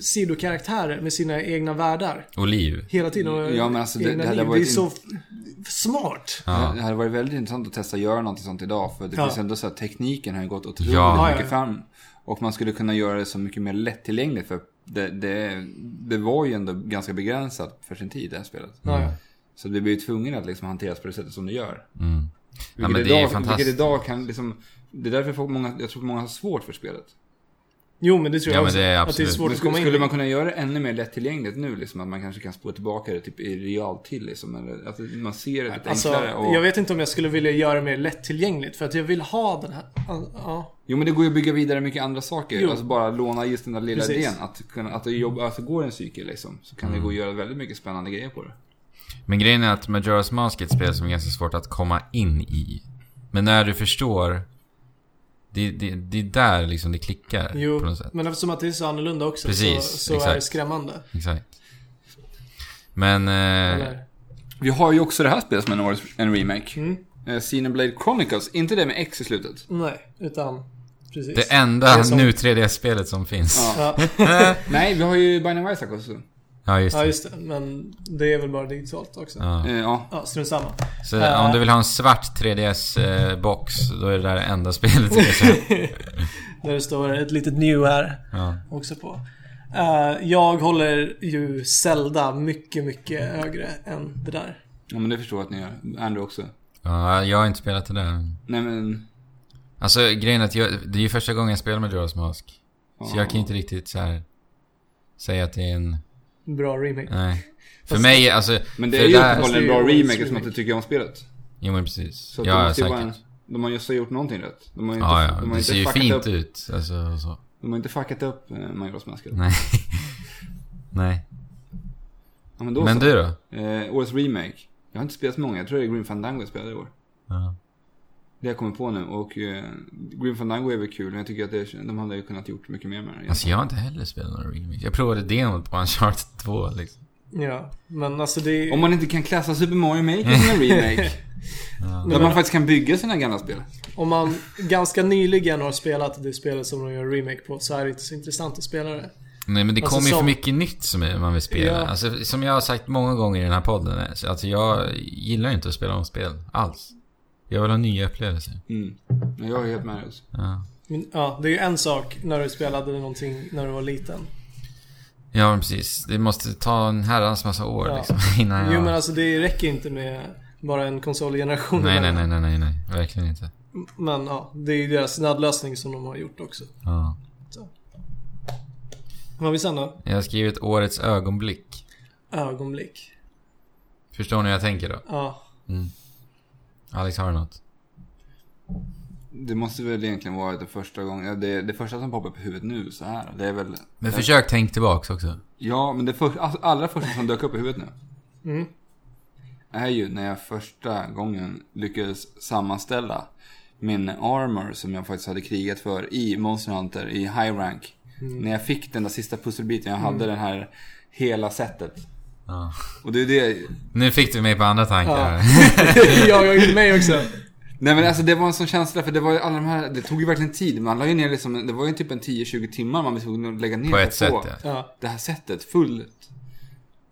[SPEAKER 3] sidokaraktärer med sina egna världar.
[SPEAKER 2] Och liv.
[SPEAKER 3] Hela tiden. Och
[SPEAKER 1] Ja, men alltså, det-
[SPEAKER 3] egna
[SPEAKER 1] det hade
[SPEAKER 3] liv.
[SPEAKER 1] varit
[SPEAKER 3] det är så
[SPEAKER 1] in-
[SPEAKER 3] f- smart.
[SPEAKER 2] Ja.
[SPEAKER 1] Det hade varit väldigt intressant att testa att göra någonting sånt idag. För det
[SPEAKER 3] Ja.
[SPEAKER 1] finns ändå så här, tekniken har ju gått otroligt
[SPEAKER 2] Ja.
[SPEAKER 1] mycket
[SPEAKER 3] Ja,
[SPEAKER 1] fram. Och man skulle kunna göra det så mycket mer lättillgängligt. För det, det, det var ju ändå ganska begränsat för sin tid, det här spelet.
[SPEAKER 3] Ja, ja.
[SPEAKER 1] Så vi blir ju tvungna att liksom hanteras på det sättet som det gör.
[SPEAKER 2] Mm. Ja, men
[SPEAKER 1] Vilket
[SPEAKER 2] det är
[SPEAKER 1] idag-
[SPEAKER 2] fantastiskt.
[SPEAKER 1] Vilket idag kan liksom... Det är därför folk många, jag tror att många har svårt för spelet.
[SPEAKER 3] Jo, men det tror
[SPEAKER 2] Ja,
[SPEAKER 3] jag
[SPEAKER 2] men
[SPEAKER 3] också.
[SPEAKER 2] det är
[SPEAKER 3] att det är
[SPEAKER 2] absolut.
[SPEAKER 3] svårt
[SPEAKER 1] Men
[SPEAKER 3] att
[SPEAKER 1] skulle,
[SPEAKER 3] komma in
[SPEAKER 1] skulle
[SPEAKER 3] i.
[SPEAKER 1] man kunna göra det ännu mer lättillgängligt nu? Liksom, att man kanske kan spå tillbaka det typ i realtid. Liksom, eller, att man ser det lite
[SPEAKER 3] Alltså,
[SPEAKER 1] enklare. Och,
[SPEAKER 3] jag vet inte om jag skulle vilja göra det mer lättillgängligt för att jag vill ha den här... Ja,
[SPEAKER 1] Jo men det går ju att bygga vidare mycket andra saker.
[SPEAKER 3] Jo.
[SPEAKER 1] Alltså bara låna just den där lilla
[SPEAKER 3] Precis.
[SPEAKER 1] idén. Att, kunna, att, det jobba, att det går en cykel liksom. Så kan
[SPEAKER 2] Mm.
[SPEAKER 1] det gå att göra väldigt mycket spännande grejer på det.
[SPEAKER 2] Men grejen är att Majora's Mask är ett spel som är ganska svårt att komma in i. Men när du förstår... Det, det, det är där liksom det klickar på
[SPEAKER 3] jo.
[SPEAKER 2] något sätt.
[SPEAKER 3] Men eftersom att det är så annorlunda också
[SPEAKER 2] Precis,
[SPEAKER 3] så, så är det
[SPEAKER 2] exakt.
[SPEAKER 3] skrämmande.
[SPEAKER 1] Eh.
[SPEAKER 2] Exakt. Men... Eh,
[SPEAKER 3] Eller?
[SPEAKER 1] Vi har ju också det här spelet som en, årets, en remake.
[SPEAKER 3] Mm.
[SPEAKER 1] Eh, Xenoblade Chronicles. Inte det med X i slutet.
[SPEAKER 3] Nej, utan... Precis.
[SPEAKER 2] det enda
[SPEAKER 3] Det är som-
[SPEAKER 2] nu 3D-spelet som finns.
[SPEAKER 1] Ja.
[SPEAKER 3] Ja,
[SPEAKER 1] Nej, vi har ju Binding of Isaac också.
[SPEAKER 2] Ja, just
[SPEAKER 3] ja,
[SPEAKER 2] det.
[SPEAKER 3] just det. Men det är väl bara digitalt också.
[SPEAKER 2] Ja.
[SPEAKER 1] Eh, ja.
[SPEAKER 3] Ja, strunt samma.
[SPEAKER 2] Så
[SPEAKER 3] Eh.
[SPEAKER 2] om du vill ha en svart 3DS-box, då är det där det enda spelet jag ser.
[SPEAKER 3] Där det står ett litet new här
[SPEAKER 2] Ja.
[SPEAKER 3] också på. Eh, jag håller ju Zelda mycket, mycket högre än det där.
[SPEAKER 1] ja, men det förstår jag att ni gör. Andrew också.
[SPEAKER 2] ja, jag har inte spelat det där.
[SPEAKER 1] Nej men...
[SPEAKER 2] Alltså grejen är att jag, det är ju första gången jag spelar med Majora's Mask. Så jag kan ju inte riktigt så här säga att det är en...
[SPEAKER 3] Bra remake.
[SPEAKER 2] Nej. För
[SPEAKER 3] Fast-
[SPEAKER 2] mig, alltså...
[SPEAKER 1] Men det
[SPEAKER 2] för
[SPEAKER 1] är ju
[SPEAKER 2] där,
[SPEAKER 1] uppenbarligen en
[SPEAKER 3] Fast
[SPEAKER 1] bra
[SPEAKER 3] det är ju
[SPEAKER 1] remake
[SPEAKER 3] årets
[SPEAKER 1] som att du
[SPEAKER 3] remake.
[SPEAKER 1] tycker om spelet.
[SPEAKER 2] Jo men precis.
[SPEAKER 1] Så att det
[SPEAKER 2] Ja,
[SPEAKER 1] måste ju vara en,
[SPEAKER 2] säkert.
[SPEAKER 1] de har just ha gjort någonting rätt. De har ju inte,
[SPEAKER 2] Ja, ja.
[SPEAKER 1] de har
[SPEAKER 2] Det
[SPEAKER 1] inte
[SPEAKER 2] ser ju
[SPEAKER 1] fuckat
[SPEAKER 2] fint
[SPEAKER 1] upp,
[SPEAKER 2] ut. Alltså, och så.
[SPEAKER 1] De har inte fuckat upp eh, Majoras Mask.
[SPEAKER 2] Nej. Nej.
[SPEAKER 1] Ja, men då
[SPEAKER 2] Men
[SPEAKER 1] så.
[SPEAKER 2] du då?
[SPEAKER 1] Eh, årets remake. Jag har inte spelat så många. Jag tror det är Grim Fandango jag spelade i år.
[SPEAKER 2] Ja.
[SPEAKER 1] Det jag kommer på nu. Och eh, Grim Fandango är väl kul. Men jag tycker att det, de hade ju kunnat gjort mycket mer med det.
[SPEAKER 2] Alltså jag har inte heller spelat någon remake. Jag provade demot på Uncharted 2 liksom.
[SPEAKER 3] Ja, men alltså det är...
[SPEAKER 1] Om man inte kan klassa Super Mario Maker som en remake. Där man faktiskt kan bygga sina gamla spel.
[SPEAKER 3] Om man ganska nyligen har spelat det spelet som de gör remake på så är det inte så intressant att spela det.
[SPEAKER 2] Nej men det
[SPEAKER 3] Alltså,
[SPEAKER 2] kommer ju för
[SPEAKER 3] som-
[SPEAKER 2] mycket nytt som man vill spela.
[SPEAKER 3] Ja.
[SPEAKER 2] Alltså, som jag har sagt många gånger i den här podden. alltså, Alltså jag gillar ju inte att spela om spel alls. Jag vill ha nya upplevelser.
[SPEAKER 1] Mm. Men Jag är helt med dig också.
[SPEAKER 2] Ja.
[SPEAKER 3] Men, ja, det är ju en sak när du spelade någonting när du var liten.
[SPEAKER 2] Ja, men precis. Det måste ta en herrans massa år
[SPEAKER 3] Ja.
[SPEAKER 2] liksom, innan jag...
[SPEAKER 3] Jo men alltså det räcker inte med bara en konsolgeneration.
[SPEAKER 2] nej, nej,
[SPEAKER 3] emellan.
[SPEAKER 2] nej, nej, nej, nej. Verkligen inte.
[SPEAKER 3] Men ja, det är ju deras snabbläsning som de har gjort också.
[SPEAKER 2] Ja.
[SPEAKER 3] Vad har vi sen då?
[SPEAKER 2] Jag har skrivit årets ögonblick.
[SPEAKER 3] Ögonblick.
[SPEAKER 2] Förstår ni hur jag tänker då?
[SPEAKER 3] Ja.
[SPEAKER 2] Alex, har du något?
[SPEAKER 1] Det måste väl egentligen vara det första gången, ja, det, det första som poppar upp i huvudet nu så här. Det är väl...
[SPEAKER 2] Men försök tänk tillbaks också.
[SPEAKER 1] Ja, men det för, alltså, allra första som dök upp i huvudet nu.
[SPEAKER 3] Mm.
[SPEAKER 1] Är ju när jag första gången lyckades sammanställa min armor som jag faktiskt hade krigat för i Monster Hunter i High Rank. När jag fick den där sista pusselbiten, jag hade den här hela setet.
[SPEAKER 2] Ja.
[SPEAKER 1] Och det är det,
[SPEAKER 2] Nu fick du mig på andra tankar.
[SPEAKER 3] ja, jag är med också.
[SPEAKER 1] Nej men alltså det var en sån känsla för det var ju alla de här, det tog ju verkligen tid. Man la ju ner liksom, det var ju typ en 10-20 timmar man var tvungen att lägga ner för
[SPEAKER 2] på
[SPEAKER 1] att
[SPEAKER 2] ett sätt
[SPEAKER 1] få
[SPEAKER 2] ja.
[SPEAKER 3] Ja.
[SPEAKER 1] Det här sättet fullt.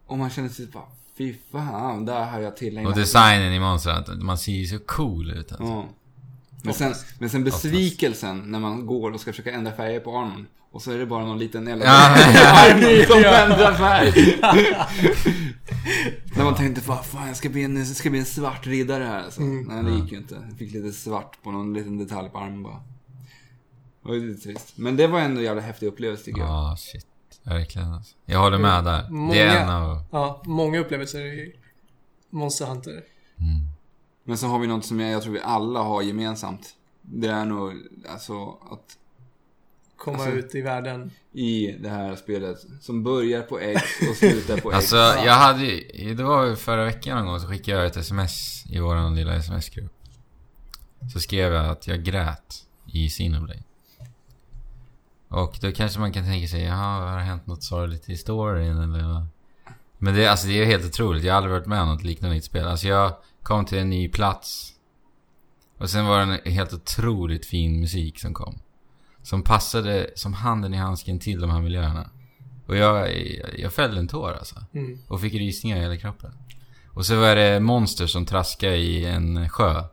[SPEAKER 1] Och man kände sig bara, fy fan, där har jag tillägnat
[SPEAKER 2] Och
[SPEAKER 1] mig."
[SPEAKER 2] designen i Monster Hunter, man ser ju så cool ut alltså.
[SPEAKER 1] Ja. Men sen, men sen besvikelsen när man går och ska försöka ändra färger på armen. Och så är det bara någon liten jävla arm som ändrar färg. när man tänkte, vad fan, jag ska bli en, jag ska bli en svart riddare här. Alltså. Nej, det gick ju inte. Jag fick lite svart på någon liten detalj på armen bara. Det var ju lite trist. Men det var ändå en jävla häftig upplevelse tycker jag. Mm.
[SPEAKER 2] Ja, shit. Verkligen alltså. Jag håller med där. Det är
[SPEAKER 3] Många-
[SPEAKER 2] en av...
[SPEAKER 3] ja, många upplevelser i Monster Hunter.
[SPEAKER 1] Men så har vi något som jag, jag tror vi alla har gemensamt. Det är nog, alltså, att
[SPEAKER 3] Komma
[SPEAKER 1] Alltså-
[SPEAKER 3] ut i världen.
[SPEAKER 1] i det här spelet som börjar på X och slutar på X.
[SPEAKER 2] Alltså, jag hade ju... Det var ju förra veckan någon gång så skickade jag ett sms i våran lilla sms-grupp. Så skrev jag att jag grät i Sinoblade. Och då kanske man kan tänka sig, jaha, har det hänt något sorgligt i storyn eller vad? Men det, alltså, det är ju helt otroligt. Jag har aldrig varit med om något liknande i ett spel. Alltså jag kom till en ny plats. Och sen var det en helt otroligt fin musik som kom. Som passade som handen i handsken till de här miljöerna. Och jag, jag fällde en tår alltså.
[SPEAKER 3] Mm.
[SPEAKER 2] Och fick rysningar i hela kroppen. Och så var det monster som traskade i en sjö.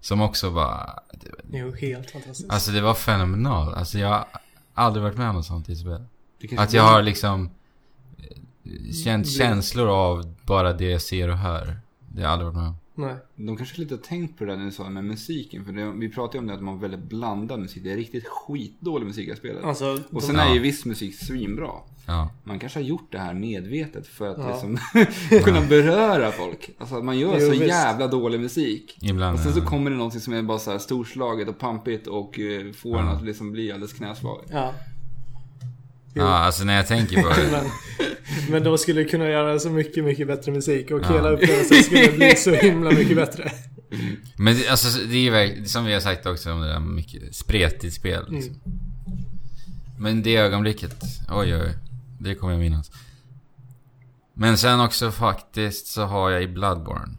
[SPEAKER 2] Som också var...
[SPEAKER 3] Det är ju helt fantastiskt.
[SPEAKER 2] Alltså det var fenomenalt. Alltså jag har aldrig varit med om något sånt i ett spel.
[SPEAKER 1] Det kanske
[SPEAKER 2] Att jag
[SPEAKER 1] blir-
[SPEAKER 2] har liksom eh,
[SPEAKER 1] Mm.
[SPEAKER 2] känt känslor av bara det jag ser och hör. Det har jag aldrig varit med om.
[SPEAKER 3] Nej.
[SPEAKER 1] De kanske lite har tänkt på det där när du sa det med musiken. För det, vi pratade ju om det att man har väldigt blandad musik. Det är riktigt skitdålig musik i spelet.
[SPEAKER 3] Alltså,
[SPEAKER 1] och
[SPEAKER 3] de-
[SPEAKER 1] sen
[SPEAKER 2] Ja.
[SPEAKER 1] är ju viss musik svinbra.
[SPEAKER 2] Ja.
[SPEAKER 1] Man kanske har gjort det här medvetet för att
[SPEAKER 3] Ja.
[SPEAKER 1] liksom kunna beröra folk. Alltså att man gör
[SPEAKER 3] Jo,
[SPEAKER 1] så
[SPEAKER 3] visst.
[SPEAKER 1] jävla dålig musik.
[SPEAKER 2] Ibland.
[SPEAKER 1] Och sen så
[SPEAKER 2] ja.
[SPEAKER 1] kommer det någonting som är bara så här storslaget och pampigt och eh, får en
[SPEAKER 2] Ja.
[SPEAKER 1] att liksom bli alldeles knäslag.
[SPEAKER 3] ja.
[SPEAKER 2] Ja, alltså när jag tänker på det.
[SPEAKER 3] Men, men de skulle kunna göra så mycket, mycket bättre musik och
[SPEAKER 2] Ja.
[SPEAKER 3] hela upplevelsen skulle bli så himla mycket bättre.
[SPEAKER 2] Men det, alltså, det är ju verk- som vi har sagt också om det där mycket spretigt spel. Liksom. Men det ögonblicket, oj oj, oj. Det kommer jag minnas. Men sen också faktiskt så har jag i Bloodborne.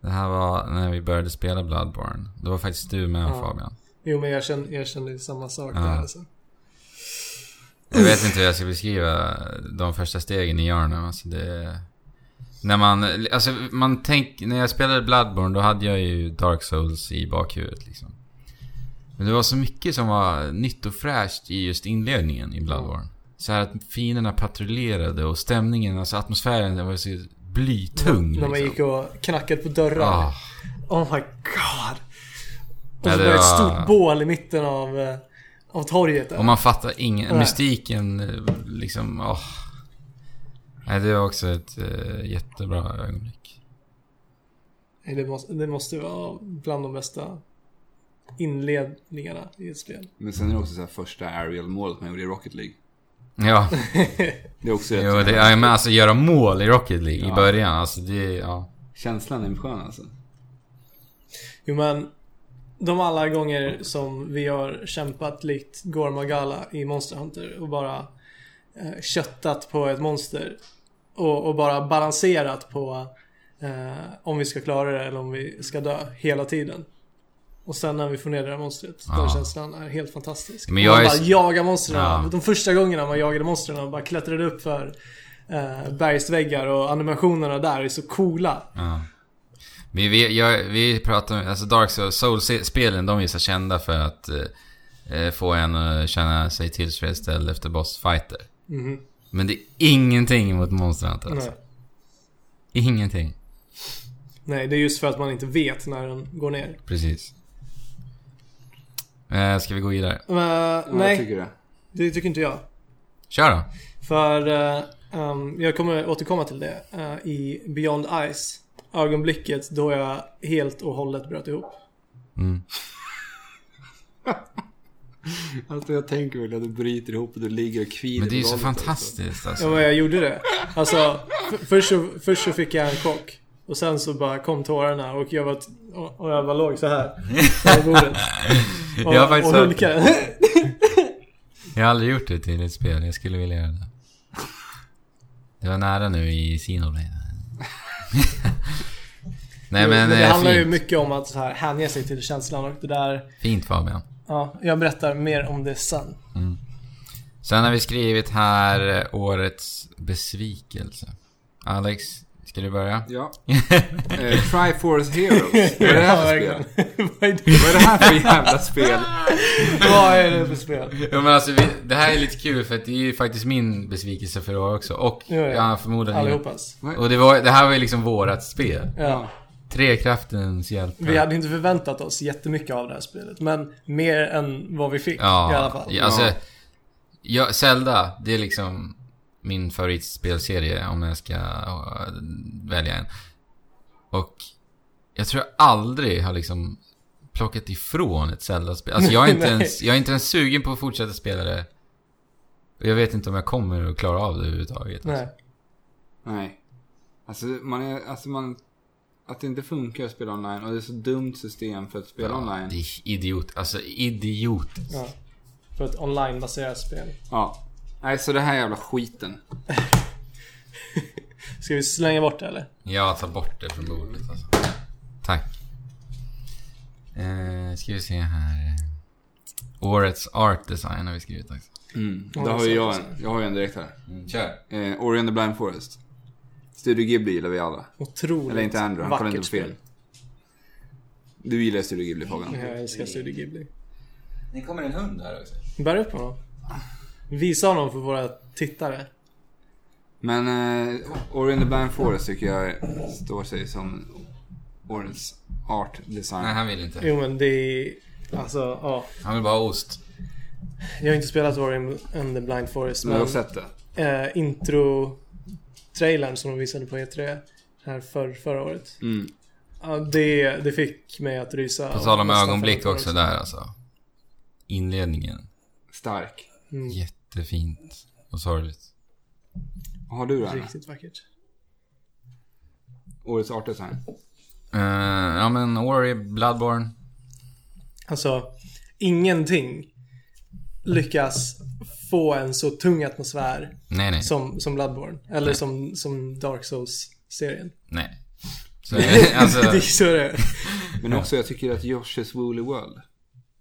[SPEAKER 2] Det här var när vi började spela Bloodborne. Det var faktiskt du med
[SPEAKER 3] Ja.
[SPEAKER 2] Fabian.
[SPEAKER 3] Jo, men jag känner, jag känner ju samma sak
[SPEAKER 2] Ja.
[SPEAKER 3] där alltså.
[SPEAKER 2] Jag vet inte hur jag ska beskriva de första stegen i Yarnum. Alltså det... När man... Alltså man tänk... När jag spelade Bloodborne då hade jag ju Dark Souls i bakhuvudet liksom. Men det var så mycket som var nytt och fräscht i just inledningen i Bloodborne. Så här att fienderna patrullerade och stämningen, alltså atmosfären den var så blytung.
[SPEAKER 3] När man
[SPEAKER 2] liksom.
[SPEAKER 3] gick och knackade på dörrar.
[SPEAKER 2] Ah,
[SPEAKER 3] Oh my god. Och
[SPEAKER 2] Ja, det
[SPEAKER 3] så var det ett
[SPEAKER 2] var-
[SPEAKER 3] stort bål i mitten av, eh, av torget. Där.
[SPEAKER 2] och man fattar ingen...
[SPEAKER 3] Nej.
[SPEAKER 2] Mystiken eh, liksom... Åh. Nej, det var också ett eh, jättebra ögonblick.
[SPEAKER 3] Nej, Det, måste, det måste vara bland de bästa inledningarna i ett spel.
[SPEAKER 1] Men sen är det också så här första aerial-målet man gjorde i Rocket League.
[SPEAKER 2] Ja.
[SPEAKER 1] Det är också rätt
[SPEAKER 2] Jo, det, ja, men alltså göra mål i Rocket League i början, alltså det, ja.
[SPEAKER 1] Känslan är skön alltså.
[SPEAKER 3] Jo men, de alla gånger som vi har kämpat likt Gormagala i Monster Hunter och bara eh, köttat på ett monster och, och bara balanserat på eh, om vi ska klara det eller om vi ska dö hela tiden. Och sen när vi får ner det där monstret, den
[SPEAKER 2] Ja.
[SPEAKER 3] känslan är helt fantastisk.
[SPEAKER 2] Men
[SPEAKER 3] Och man
[SPEAKER 2] jag är
[SPEAKER 3] bara
[SPEAKER 2] s-
[SPEAKER 3] jagar monstren.
[SPEAKER 2] Ja.
[SPEAKER 3] De första gångerna man jagade monstren och bara klättrade upp för eh, bergsväggar och animationerna där är så coola.
[SPEAKER 2] ja. Vi, vi, jag, vi pratar om, alltså Dark Souls, Souls-spelen de är ju så kända för att eh, få en att känna sig tillfredsställd efter bossfighter.
[SPEAKER 3] Mhm.
[SPEAKER 2] Men det är ingenting mot Monster Hunter alltså.
[SPEAKER 3] Nej.
[SPEAKER 2] Ingenting.
[SPEAKER 3] Nej, det är just för att man inte vet när den går ner.
[SPEAKER 2] Precis. Eh, ska vi gå vidare?
[SPEAKER 3] Men,
[SPEAKER 1] Nej. Jag
[SPEAKER 3] nej,
[SPEAKER 1] tycker det.
[SPEAKER 3] det tycker inte jag.
[SPEAKER 2] Kör då!
[SPEAKER 3] För eh, ehm, jag kommer återkomma till det eh, i Beyond Ice. Ögonblicket då jag helt och hållet bröt ihop.
[SPEAKER 2] Mm.
[SPEAKER 1] Alltså jag tänker väl att du bryter ihop och du ligger och kvider
[SPEAKER 2] Men det är ju
[SPEAKER 1] på
[SPEAKER 2] så
[SPEAKER 1] golvet,
[SPEAKER 2] fantastiskt
[SPEAKER 3] Ja,
[SPEAKER 2] alltså.
[SPEAKER 3] men jag gjorde det. Alltså, f- först, så, först så fick jag en chock. Och sen så bara kom tårarna och jag var, t- och och jag var låg så här på bordet. Och,
[SPEAKER 2] Jag har faktiskt
[SPEAKER 3] och
[SPEAKER 2] hört-
[SPEAKER 3] hulkade.
[SPEAKER 2] Jag har aldrig gjort det till ett spel. Jag skulle vilja göra det. Det var nära nu i Xenoblade. Nej men,
[SPEAKER 3] det
[SPEAKER 2] eh,
[SPEAKER 3] handlar ju
[SPEAKER 2] fint.
[SPEAKER 3] mycket om att så här, hänge sig till känslan och det där.
[SPEAKER 2] fint Fabian.
[SPEAKER 3] Ja, jag berättar mer om det sen.
[SPEAKER 2] Sen har vi skrivit här eh, årets besvikelse. Alex, ska du börja?
[SPEAKER 1] Ja. eh, Triforce Heroes. Vad är det här för spel?
[SPEAKER 3] Vad är det-
[SPEAKER 1] Vad är det här för jävla spel?
[SPEAKER 3] Vad är det för spel?
[SPEAKER 2] Ja, men alltså, vi, det här är lite kul för att det är ju faktiskt min besvikelse för i år också. Och
[SPEAKER 3] Ja, ja.
[SPEAKER 2] ja, förmodligen
[SPEAKER 3] Allihopas.
[SPEAKER 2] Och det, var, det här var ju liksom vårat spel.
[SPEAKER 3] Ja.
[SPEAKER 2] Trekraftens hjälp.
[SPEAKER 3] Vi hade inte förväntat oss jättemycket av det här spelet. Men mer än vad vi fick
[SPEAKER 2] ja,
[SPEAKER 3] i alla fall.
[SPEAKER 2] Ja, alltså,
[SPEAKER 1] Ja.
[SPEAKER 2] jag, Zelda, det är liksom min favoritspelserie om jag ska eh, välja en. Och jag tror jag aldrig har liksom plockat ifrån ett Zelda-spel. Alltså jag är, inte
[SPEAKER 3] Nej.
[SPEAKER 2] ens, jag är inte ens sugen på att fortsätta spela det. Och jag vet inte om jag kommer att klara av det överhuvudtaget. alltså.
[SPEAKER 3] Nej.
[SPEAKER 1] Nej. Alltså man är, alltså man... Att det inte funkar att spela online och det är så dumt system för att spela
[SPEAKER 2] Det
[SPEAKER 1] online.
[SPEAKER 2] är idiot. Alltså idiot.
[SPEAKER 3] Ja. För ett onlinebaserat spel.
[SPEAKER 1] Ja. Nej, så det här jävla skiten.
[SPEAKER 3] Ska vi slänga bort det eller?
[SPEAKER 2] Jag tar bort det från bordet alltså. Tack. Eh, ska vi se här. Årets art design har vi skrivit också.
[SPEAKER 1] Mm. Då
[SPEAKER 3] det
[SPEAKER 1] har
[SPEAKER 3] är
[SPEAKER 1] ju jag
[SPEAKER 3] sant.
[SPEAKER 1] en. Jag har ju en direkt här.
[SPEAKER 2] Kör.
[SPEAKER 1] Eh, Ori and the Blind Forest. Studio Ghibli gillar vi alla.
[SPEAKER 3] Otroligt
[SPEAKER 1] Eller inte Andrew, han kollar inte på
[SPEAKER 3] spel.
[SPEAKER 1] film. Du gillar Studio Ghibli Fabian.
[SPEAKER 3] Jag älskar Studio Ghibli.
[SPEAKER 2] Det kommer en hund här också.
[SPEAKER 3] Bär upp honom. Visa honom för våra tittare.
[SPEAKER 1] Men eh, Ori and the Blind Forest tycker jag står sig som årets art design.
[SPEAKER 2] Nej, han vill inte.
[SPEAKER 3] Jo men det är... Alltså, ja.
[SPEAKER 2] Han vill bara ha ost. Jag
[SPEAKER 3] Jag har inte spelat Ori and the Blind Forest
[SPEAKER 1] Men jag
[SPEAKER 3] men
[SPEAKER 1] har sett det.
[SPEAKER 3] eh, intro-trailern som de visade på E3 här för, förra året.
[SPEAKER 1] Mm.
[SPEAKER 3] Ja, det, det fick mig att rysa.
[SPEAKER 2] På
[SPEAKER 3] av
[SPEAKER 2] tal om
[SPEAKER 3] nästan
[SPEAKER 2] ögonblick
[SPEAKER 3] fem
[SPEAKER 2] också där alltså. Inledningen.
[SPEAKER 1] Stark.
[SPEAKER 3] Mm.
[SPEAKER 2] Jättefint och sorgligt.
[SPEAKER 1] Vad har du då? Anna?
[SPEAKER 3] Riktigt vackert.
[SPEAKER 1] Årets art design.
[SPEAKER 2] Eh, ja men Ori, Bloodborne.
[SPEAKER 3] Alltså, ingenting lyckas få en så tung atmosfär
[SPEAKER 2] Nej, nej.
[SPEAKER 3] som, som Bloodborne. Eller som, som Dark Souls-serien.
[SPEAKER 2] Nej. Så, alltså,
[SPEAKER 3] det är så det är.
[SPEAKER 1] Men också jag tycker att Joshes Woolly World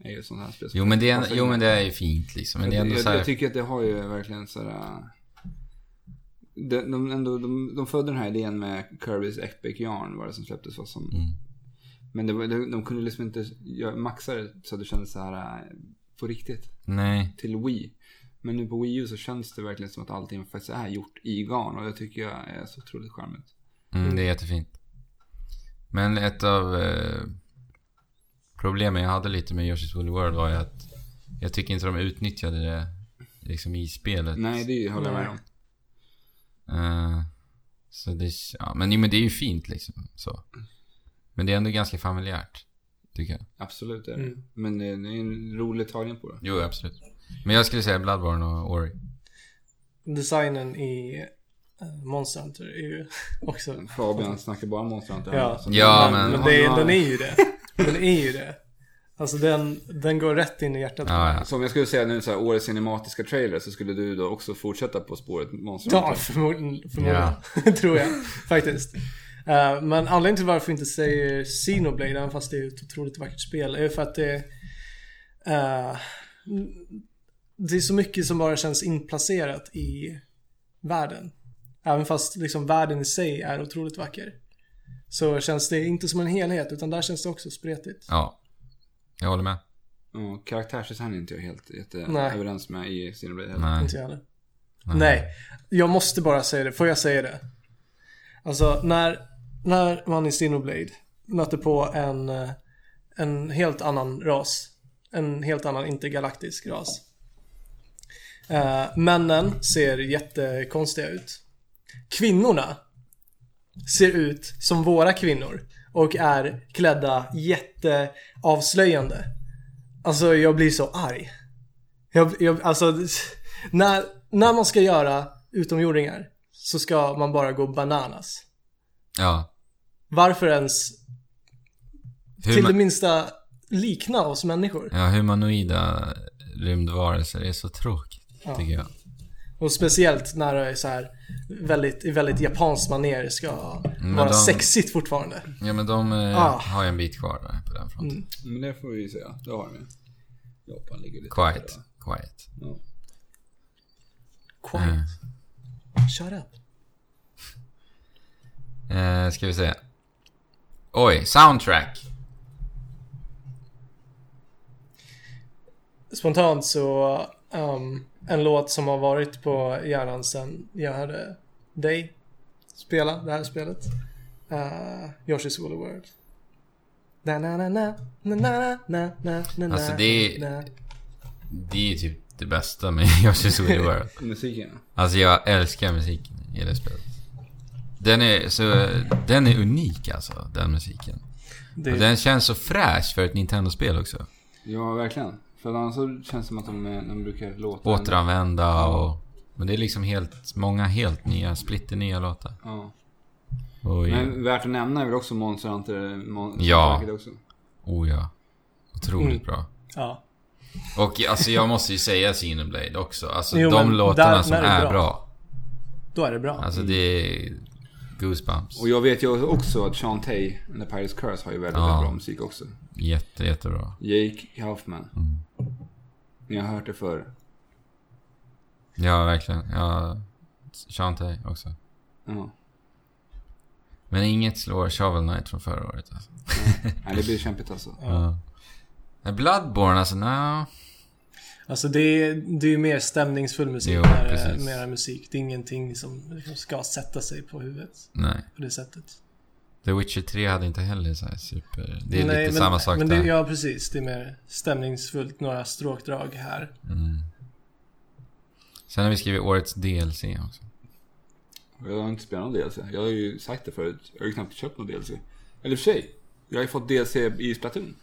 [SPEAKER 1] är ju ett sånt här spel. som
[SPEAKER 2] jo, men det är,
[SPEAKER 1] passar in.
[SPEAKER 2] jo men det är ju fint liksom. Men det är
[SPEAKER 1] jag,
[SPEAKER 2] ändå så
[SPEAKER 1] jag, jag
[SPEAKER 2] här,
[SPEAKER 1] tycker att det har ju verkligen sådär... De, de, ändå, de, de födde den här idén med Kirby's Epic Yarn var det som släpptes. Vad som,
[SPEAKER 2] Mm.
[SPEAKER 1] Men det var, de, de kunde liksom inte göra- maxa det så att det kändes så här eh, på riktigt.
[SPEAKER 2] Nej.
[SPEAKER 1] Till Wii. Men nu på Wii U så känns det verkligen som att allting faktiskt är gjort i garn. Och det tycker jag är så otroligt charmigt.
[SPEAKER 2] Mm, det är jättefint. Men ett av eh, problemen jag hade lite med Yoshi's Woolly World var ju att jag tycker inte de utnyttjade det liksom i spelet.
[SPEAKER 1] Nej, det håller jag med om.
[SPEAKER 2] Eh, så det, ja, men, jo, men det är ju fint liksom. Så. Men det är ändå ganska familjärt. Tycker jag.
[SPEAKER 1] Absolut är det. Men det, det är en rolig tagning på det.
[SPEAKER 2] Jo, absolut. Men jag skulle säga Bloodborne och Ori.
[SPEAKER 3] Designen i eh, Monster Hunter är ju också...
[SPEAKER 1] Fabian snackar bara om Monster Hunter.
[SPEAKER 3] Ja.
[SPEAKER 1] Så-
[SPEAKER 2] Ja, men-
[SPEAKER 3] Men det,
[SPEAKER 1] Ja.
[SPEAKER 3] den är ju det. Den är ju det. Alltså den, den går rätt in i hjärtat.
[SPEAKER 2] Ja, ja.
[SPEAKER 1] Så om jag skulle säga nu så här, årets cinematiska trailer så skulle du då också fortsätta på spåret Monster
[SPEAKER 3] Ja,
[SPEAKER 1] Hunter.
[SPEAKER 3] förmodligen. förmodligen. tror jag. Faktiskt. Eh, men anledningen till varför vi inte säger Xenoblade, även fast det är ett otroligt vackert spel, är för att det... eh, det är så mycket som bara känns inplacerat i världen. Även fast liksom världen i sig är otroligt vacker. så känns det inte som en helhet utan där känns det också spretigt.
[SPEAKER 2] Ja. Jag håller med.
[SPEAKER 1] Ja, karaktärsdesign är inte jag helt jätte
[SPEAKER 3] Nej.
[SPEAKER 1] överens med i Cinebleed heller.
[SPEAKER 2] Nej.
[SPEAKER 3] Inte jag heller. Nej, jag måste bara säga det. Får jag säga det? Alltså när, när man i Sinoblade möter på en, eh, en helt annan ras. En helt annan intergalaktisk ras. Eh, männen ser jättekonstiga ut. Kvinnorna ser ut som våra kvinnor och är klädda jätteavslöjande. Alltså jag blir så arg. Jag, jag, alltså, när, när man ska göra utomjordingar så ska man bara gå bananas.
[SPEAKER 2] Ja.
[SPEAKER 3] Varför ens
[SPEAKER 2] Hur
[SPEAKER 3] till det
[SPEAKER 2] man,
[SPEAKER 3] minsta likna oss människor?
[SPEAKER 2] ja, humanoida rymdvarelser är så tråkigt, tycker jag.
[SPEAKER 3] Och speciellt när det är så här väldigt, i väldigt japanskt manér ska vara
[SPEAKER 2] Mm, de-
[SPEAKER 3] sexigt fortfarande.
[SPEAKER 2] Ja, men de eh,
[SPEAKER 3] Ah.
[SPEAKER 2] har ju en bit kvar där på den fronten.
[SPEAKER 1] Men det får vi ju säga. Det har vi. Japan ligger lite efter
[SPEAKER 2] Quiet.
[SPEAKER 1] då.
[SPEAKER 2] Quiet.
[SPEAKER 1] Ja.
[SPEAKER 3] Quiet. Shut up.
[SPEAKER 2] Eh, ska vi se. Oj, soundtrack.
[SPEAKER 3] Spontant så, ehm, en låt som har varit på hjärnan sen jag hörde dig spela det här spelet. Uh, Yoshi's Woolly World. Na na na na na na na na na
[SPEAKER 2] Alltså,
[SPEAKER 3] na,
[SPEAKER 2] det är-
[SPEAKER 3] na.
[SPEAKER 2] Det är ju typ det bästa med Yoshi's Woolly World.
[SPEAKER 1] Musiken.
[SPEAKER 2] Alltså jag älskar musiken i det spelet. Den är, så, den är unik alltså, den musiken.
[SPEAKER 3] Det
[SPEAKER 2] Och
[SPEAKER 3] är
[SPEAKER 2] den känns så fräsch för ett Nintendo-spel också.
[SPEAKER 1] Ja, verkligen. För annars så känns det som att de, eh, de brukar låta...
[SPEAKER 2] Återanvända och... Men det är liksom helt, många helt nya, splitter nya låtar.
[SPEAKER 1] Ja.
[SPEAKER 2] Oj,
[SPEAKER 1] Men värt att nämna är väl också Monster Hunter Mon-
[SPEAKER 2] Ja.
[SPEAKER 1] soundtracket också.
[SPEAKER 2] oh ja. Otroligt
[SPEAKER 3] Mm.
[SPEAKER 2] bra.
[SPEAKER 3] Ja.
[SPEAKER 2] Och alltså jag måste ju säga Xenoblade också. Alltså
[SPEAKER 3] Jo,
[SPEAKER 2] de
[SPEAKER 3] men
[SPEAKER 2] låtarna
[SPEAKER 3] där-
[SPEAKER 2] som
[SPEAKER 3] där är det
[SPEAKER 2] är bra.
[SPEAKER 3] bra. Då är det bra.
[SPEAKER 2] Alltså det är goosebumps.
[SPEAKER 1] Och jag vet ju också att Sean Tay, The Pirates Curse, har ju väldigt,
[SPEAKER 2] Ja.
[SPEAKER 1] väldigt bra musik också.
[SPEAKER 2] Jätte, jättebra.
[SPEAKER 1] Jake Kaufman.
[SPEAKER 2] Mm.
[SPEAKER 1] Ni har hört det förr.
[SPEAKER 2] Ja, verkligen. Ja, Shantae också.
[SPEAKER 1] Ja.
[SPEAKER 2] Men inget slår Shovel Knight från förra året alltså.
[SPEAKER 1] Nej, det blir kämpigt alltså.
[SPEAKER 2] Ja. Men Bloodborne alltså, nja.
[SPEAKER 3] Alltså det är, det är ju mer stämningsfull musik
[SPEAKER 2] Jo,
[SPEAKER 3] när det är
[SPEAKER 2] precis.
[SPEAKER 3] mera musik. Det är ingenting som liksom ska sätta sig på huvudet
[SPEAKER 2] nej.
[SPEAKER 3] på det sättet.
[SPEAKER 2] The Witcher 3 hade inte heller så här super... Det är
[SPEAKER 3] Nej,
[SPEAKER 2] lite
[SPEAKER 3] men,
[SPEAKER 2] samma sak
[SPEAKER 3] men
[SPEAKER 2] där.
[SPEAKER 3] det, Ja, precis. Det är mer stämningsfullt. Några stråkdrag här.
[SPEAKER 2] Mm. Sen har vi skrivit årets DLC också.
[SPEAKER 1] Jag har inte spelat någon DLC. Jag har ju sagt det förut. Jag har ju knappt köpt någon DLC. Eller i och för sig. Jag har ju fått DLC i Splatoon.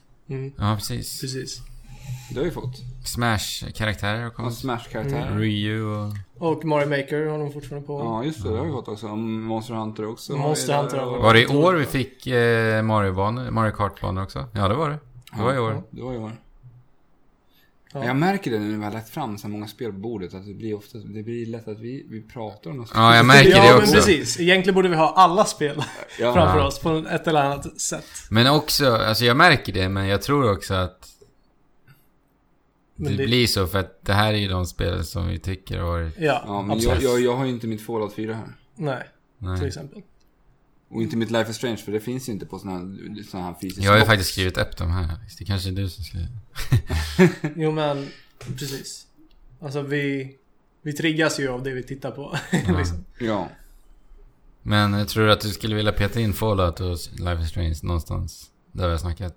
[SPEAKER 2] Ja, precis.
[SPEAKER 3] Mm, Precis.
[SPEAKER 1] Det har jag ju fått.
[SPEAKER 2] Smash-karaktärer och
[SPEAKER 1] Och
[SPEAKER 2] kommit.
[SPEAKER 1] Smash-karaktärer.
[SPEAKER 2] Ryu och...
[SPEAKER 3] Och Mario Maker har de fortfarande på.
[SPEAKER 1] Ja, just det. Det har vi fått också. Och Monster Hunter också.
[SPEAKER 3] Monster
[SPEAKER 1] Har vi
[SPEAKER 3] Hunter
[SPEAKER 1] där.
[SPEAKER 3] har vi.
[SPEAKER 2] Var det i år vi fick eh, Mario-banor? Mario Kart-banor också? Ja, det var det. Det var i år.
[SPEAKER 1] Det var i år.
[SPEAKER 3] Ja.
[SPEAKER 1] Jag märker det nu när vi har lagt fram så här många spel på bordet. Att det blir ofta... Det blir lätt att vi, vi pratar om något spel.
[SPEAKER 2] Ja, jag märker
[SPEAKER 3] ja,
[SPEAKER 2] det
[SPEAKER 3] men
[SPEAKER 2] också.
[SPEAKER 3] precis. Egentligen borde vi ha alla spel
[SPEAKER 1] Ja.
[SPEAKER 3] framför oss på ett eller annat sätt.
[SPEAKER 2] Men också, alltså jag märker det, men jag tror också att det,
[SPEAKER 3] Men det-
[SPEAKER 2] blir så för att det här är ju de spel som vi tycker har varit...
[SPEAKER 3] Ja,
[SPEAKER 1] Ja, men jag,
[SPEAKER 3] absolut.
[SPEAKER 1] jag, jag har ju inte mitt Fallout 4 här.
[SPEAKER 3] Nej, till
[SPEAKER 2] Nej.
[SPEAKER 3] exempel.
[SPEAKER 1] Och inte mitt Life is Strange, för det finns ju inte på sån här, sån här fysisk
[SPEAKER 2] Jag har ju
[SPEAKER 1] box.
[SPEAKER 2] faktiskt skrivit upp de här. Alex. Det kanske är du som ska...
[SPEAKER 3] Jo, men precis. Alltså vi, vi triggas ju av det vi tittar på. liksom.
[SPEAKER 1] Ja.
[SPEAKER 2] Men jag tror att du skulle vilja peta in Fallout och Life is Strange någonstans? Där vi har snackat?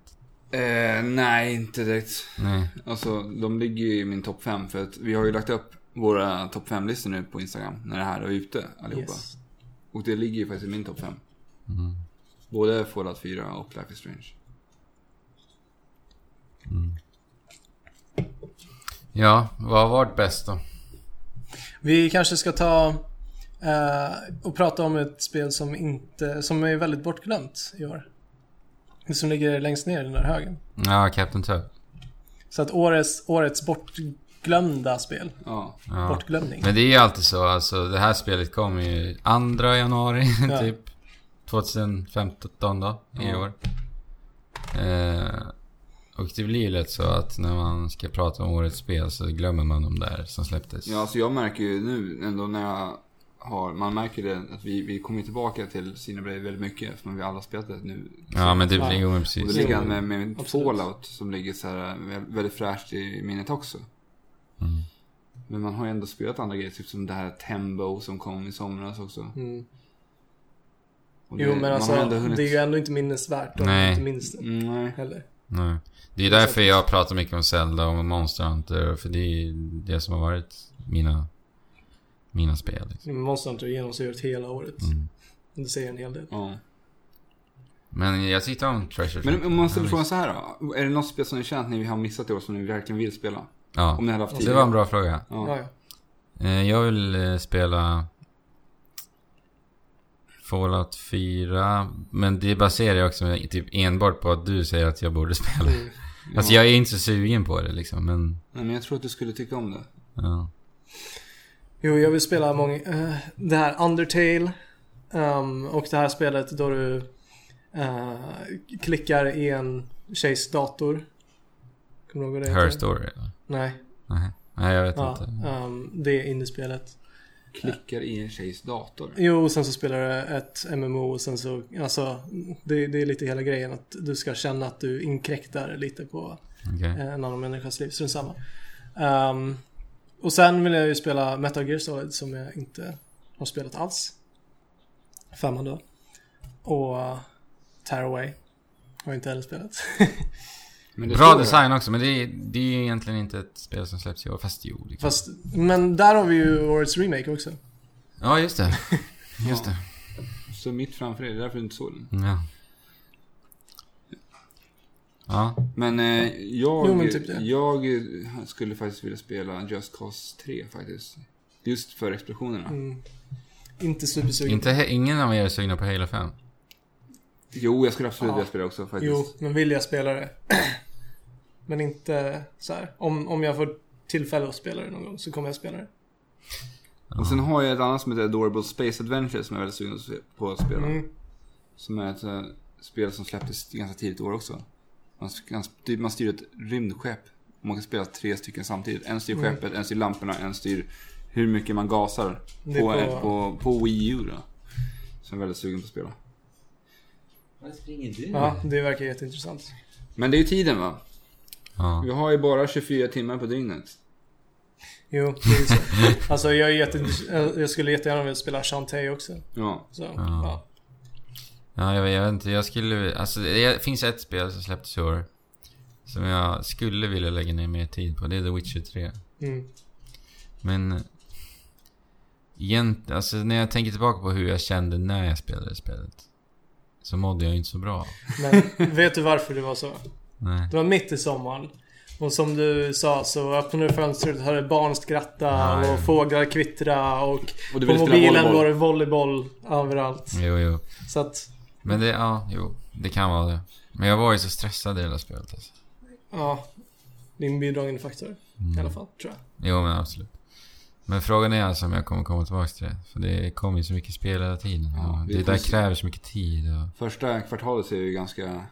[SPEAKER 1] Eh, nej, inte direkt.
[SPEAKER 2] Nej.
[SPEAKER 1] Alltså, de ligger ju i min topp 5 för att vi har ju lagt upp våra topp 5-listor nu på Instagram när det här är ute allihopa.
[SPEAKER 3] Yes.
[SPEAKER 1] Och det ligger ju faktiskt i min topp 5. Både Fallout 4 och Life is Strange.
[SPEAKER 2] Ja, vad har varit bäst då?
[SPEAKER 3] Vi kanske ska ta eh, och prata om ett spel som, inte, som är väldigt bortglömt i år. Som ligger längst ner i den där högen.
[SPEAKER 2] Ja, Captain Tub.
[SPEAKER 3] Så att årets, årets bortglömda spel.
[SPEAKER 1] Ja.
[SPEAKER 2] Ja.
[SPEAKER 3] Bortglömning.
[SPEAKER 2] Men det är ju alltid så, alltså det här spelet kom ju 2 januari
[SPEAKER 3] Ja.
[SPEAKER 2] typ. 2015 då, i
[SPEAKER 1] Ja.
[SPEAKER 2] år. Eh, och det blir ju lätt så att när man ska prata om årets spel så glömmer man de där som släpptes.
[SPEAKER 1] Ja, alltså jag märker ju nu ändå när jag har, man märker det att vi, vi kommer tillbaka till Cinebrave väldigt mycket eftersom vi alla har spelat det nu.
[SPEAKER 2] Ja, men det
[SPEAKER 3] Ja.
[SPEAKER 2] blir ju
[SPEAKER 1] Och det
[SPEAKER 2] precis.
[SPEAKER 1] ligger han med, med
[SPEAKER 3] Absolut.
[SPEAKER 1] Fallout som ligger så här vä- väldigt fräscht i minnet också.
[SPEAKER 2] Mm.
[SPEAKER 1] Men man har ju ändå spelat andra grejer, typ som det här Tembo som kom i somras också.
[SPEAKER 3] Mm.
[SPEAKER 1] Och det-
[SPEAKER 3] Jo men
[SPEAKER 1] man
[SPEAKER 3] alltså,
[SPEAKER 1] har ändå hunnit-
[SPEAKER 3] det är ju ändå inte minnesvärt om
[SPEAKER 2] Nej.
[SPEAKER 3] man inte minns det
[SPEAKER 1] Mm, Nej.
[SPEAKER 3] heller.
[SPEAKER 2] Nej. Det är därför jag pratar mycket om Zelda och Monster Hunter. För det är det som har varit mina, mina spel. Liksom.
[SPEAKER 3] Monster Hunter har genomsyrat hela året.
[SPEAKER 2] Mm.
[SPEAKER 3] Det säger en hel del.
[SPEAKER 1] Ja.
[SPEAKER 2] Men jag tyckte om Treasure
[SPEAKER 1] Men om man ställer
[SPEAKER 2] Ja,
[SPEAKER 1] frågan så här då. Är det något spel som ni känt ni har missat i år som ni verkligen vill spela? Om
[SPEAKER 2] Ja,
[SPEAKER 1] ni hade haft tid?
[SPEAKER 2] det var en bra fråga.
[SPEAKER 1] Ja.
[SPEAKER 3] Ja, ja.
[SPEAKER 2] Eh, Jag vill eh, spela Fallout 4. Men det baserar jag också med- typ enbart på att du säger att jag borde spela.
[SPEAKER 3] Mm.
[SPEAKER 2] Alltså jag är inte så sugen på det liksom, men...
[SPEAKER 1] Nej, Men jag tror att du skulle tycka om det.
[SPEAKER 2] Ja.
[SPEAKER 3] Jo, jag vill spela många... eh, det här Undertale. ehm, och det här spelet då du eh, klickar i en tjejs dator. Kommer du ihåg vad det heter?
[SPEAKER 2] Her Story eller?
[SPEAKER 3] Nej.
[SPEAKER 2] Nej. Nej, jag vet
[SPEAKER 3] Ja,
[SPEAKER 2] inte.
[SPEAKER 3] ehm, det är indiespelet.
[SPEAKER 1] Klickar i en tjejs dator.
[SPEAKER 3] Jo, och sen så spelar du ett MMO och sen så... Alltså, det, det är lite hela grejen att du ska känna att du inkräktar lite på
[SPEAKER 2] Okej.
[SPEAKER 3] eh, en annan människas liv. Strunt samma. Ehm, och sen vill jag ju spela Metal Gear Solid som jag inte har spelat alls. Femman då. Och uh, Tearaway har jag inte heller spelat.
[SPEAKER 1] Men det
[SPEAKER 2] Bra
[SPEAKER 1] står det.
[SPEAKER 2] design också, men det är, det är ju egentligen inte ett spel som släpps i år. Fast jo, liksom.
[SPEAKER 3] Fast, men där har vi ju årets remake också.
[SPEAKER 2] Ja, just det. Just det.
[SPEAKER 1] Så mitt framför er, det är därför du inte såg den.
[SPEAKER 2] Ja. Ja.
[SPEAKER 1] Men eh, jag,
[SPEAKER 3] Jo, men typ det.
[SPEAKER 1] jag eh, skulle faktiskt vilja spela Just Cause 3 faktiskt. Just för explosionerna.
[SPEAKER 3] Mm. Inte supersugen.
[SPEAKER 2] Inte, he- ingen av er är sugna på Halo 5?
[SPEAKER 1] Jo, jag skulle absolut
[SPEAKER 3] Ja.
[SPEAKER 1] vilja spela också faktiskt.
[SPEAKER 3] Jo, men vill jag spela det. men inte så här. Om, om jag får tillfälle att spela det någon gång så kommer jag spela det.
[SPEAKER 1] Och sen har jag ett annat som heter Adorable Space Adventure som jag är väldigt sugen på att spela.
[SPEAKER 3] Mm.
[SPEAKER 1] Som är ett eh, spel som släpptes ganska tidigt i år också. Man, sk- man styr, man styr ett rymdskepp. Och Man kan spela tre stycken samtidigt. En styr
[SPEAKER 3] Mm.
[SPEAKER 1] skeppet, en styr lamporna, en styr hur mycket man gasar. På,
[SPEAKER 3] Det är
[SPEAKER 1] på...
[SPEAKER 3] på-
[SPEAKER 1] På, på Wii U då. Som jag är väldigt sugen på att spela.
[SPEAKER 2] Varför springer du?
[SPEAKER 3] Ja, det verkar jätteintressant.
[SPEAKER 1] Men det är ju tiden va?
[SPEAKER 2] Ja.
[SPEAKER 1] Vi har ju bara 24 timmar på dygnet.
[SPEAKER 3] Jo, det är ju så. Alltså jag, är jätte, jag skulle jättegärna vilja spela Shantae också.
[SPEAKER 1] Ja.
[SPEAKER 3] Så,
[SPEAKER 2] Ja.
[SPEAKER 3] ja.
[SPEAKER 2] Ja, jag vet, jag vet inte. Jag skulle... Alltså, det finns ett spel som släpptes i år. Som jag skulle vilja lägga ner mer tid på. Det är The Witcher 3.
[SPEAKER 3] Mm.
[SPEAKER 2] Men... Egent, alltså, när jag tänker tillbaka på hur jag kände när jag spelade spelet. Så mådde jag ju inte så bra.
[SPEAKER 3] Men vet du varför det var så?
[SPEAKER 2] Nej.
[SPEAKER 3] Det var mitt i sommaren. Och som du sa så öppnade du fönstret och hörde barn skratta
[SPEAKER 2] Ja, ja.
[SPEAKER 3] och fåglar kvittra och
[SPEAKER 1] Och du
[SPEAKER 3] på
[SPEAKER 1] vill spela
[SPEAKER 3] mobilen var
[SPEAKER 1] volleyboll.
[SPEAKER 3] det volleyboll överallt.
[SPEAKER 2] Jo, jo.
[SPEAKER 3] Så att,
[SPEAKER 2] Men det... Ja, jo. Det kan vara det. Men jag var ju så stressad i hela spelet alltså.
[SPEAKER 3] ja. Det är en bidragande faktor
[SPEAKER 1] Mm.
[SPEAKER 3] i alla fall, tror jag.
[SPEAKER 2] Jo, men absolut. Men frågan är alltså om jag kommer komma tillbaka till det. För det kommer ju så mycket spel hela tiden.
[SPEAKER 1] Ja,
[SPEAKER 2] och
[SPEAKER 1] vi
[SPEAKER 2] det
[SPEAKER 1] får
[SPEAKER 2] där
[SPEAKER 1] se.
[SPEAKER 2] kräver så mycket tid. Och...
[SPEAKER 1] Första kvartalet är ju ganska...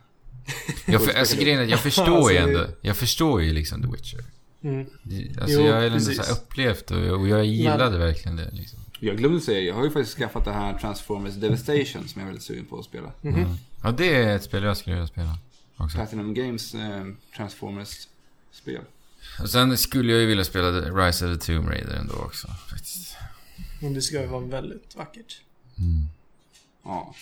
[SPEAKER 2] Jag, för, alltså, grejen är, att jag förstår
[SPEAKER 3] Alltså,
[SPEAKER 2] ju
[SPEAKER 3] det-
[SPEAKER 2] ändå. Jag förstår ju liksom The Witcher.
[SPEAKER 3] Mm.
[SPEAKER 2] Det- Alltså,
[SPEAKER 3] Jo,
[SPEAKER 2] jag har ändå
[SPEAKER 3] precis.
[SPEAKER 2] så här upplevt och, och jag gillade verkligen det. Liksom.
[SPEAKER 1] Jag glömde säga, jag har ju faktiskt skaffat det här Transformers Devastation som jag är väldigt sugen på att spela.
[SPEAKER 3] Mhm.
[SPEAKER 2] Ja, det är ett spel jag skulle vilja spela. Också.
[SPEAKER 1] Platinum Games eh, Transformers-spel.
[SPEAKER 2] Och sen skulle jag ju vilja spela The Rise of the Tomb Raider ändå också. Faktiskt.
[SPEAKER 3] Men det ska ju vara väldigt vackert.
[SPEAKER 2] Mm.
[SPEAKER 1] Ja.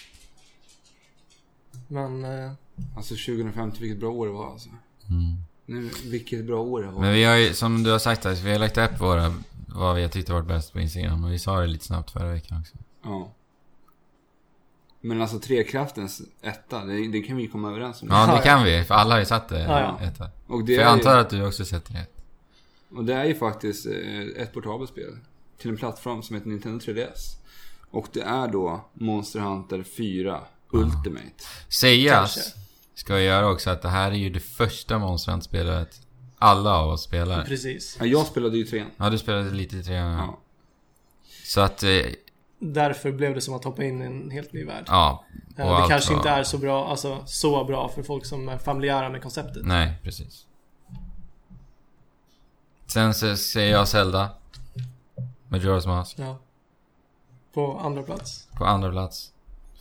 [SPEAKER 3] Men... eh,
[SPEAKER 1] Alltså 2050, vilket bra år det var alltså.
[SPEAKER 2] Mm.
[SPEAKER 1] Nu, vilket bra år det var.
[SPEAKER 2] Men vi har ju, som du har sagt, alltså, vi har lagt upp våra, vad vi har tyckt varit bäst på Instagram. Och vi sa det lite snabbt förra veckan också.
[SPEAKER 1] Ja. Men alltså Trekraftens etta, det, det kan vi komma överens om.
[SPEAKER 2] Ja,
[SPEAKER 3] Ja,
[SPEAKER 2] det
[SPEAKER 3] ja.
[SPEAKER 2] kan vi. För alla har ju satt det.
[SPEAKER 3] Ja,
[SPEAKER 1] ja.
[SPEAKER 2] Etta.
[SPEAKER 1] Och
[SPEAKER 2] För
[SPEAKER 1] det,
[SPEAKER 2] jag antar
[SPEAKER 1] är,
[SPEAKER 2] att du också sett det.
[SPEAKER 1] ju- och det är ju faktiskt eh, ett portabelt spel. Till en plattform som heter Nintendo 3DS. Och det är då Monster Hunter 4 Ultimate.
[SPEAKER 2] Sägas
[SPEAKER 3] Kanske.
[SPEAKER 2] ska jag göra också att det här är ju det första Monster Hunter-spelet alla av oss spelar.
[SPEAKER 3] Precis.
[SPEAKER 1] Ja, jag spelade ju trean.
[SPEAKER 2] Ja, du spelade lite i trean.
[SPEAKER 1] Ja.
[SPEAKER 2] Så att, eh,
[SPEAKER 3] Därför blev det som att hoppa in i en helt ny värld.
[SPEAKER 2] ja. och
[SPEAKER 3] Eh, det
[SPEAKER 2] allt
[SPEAKER 3] kanske
[SPEAKER 2] var-
[SPEAKER 3] inte är så bra, alltså så bra för folk som är familjära med konceptet.
[SPEAKER 2] Nej, precis. Sen så säger jag Zelda. Majora's Mask.
[SPEAKER 3] Ja. På andra plats.
[SPEAKER 2] På andra plats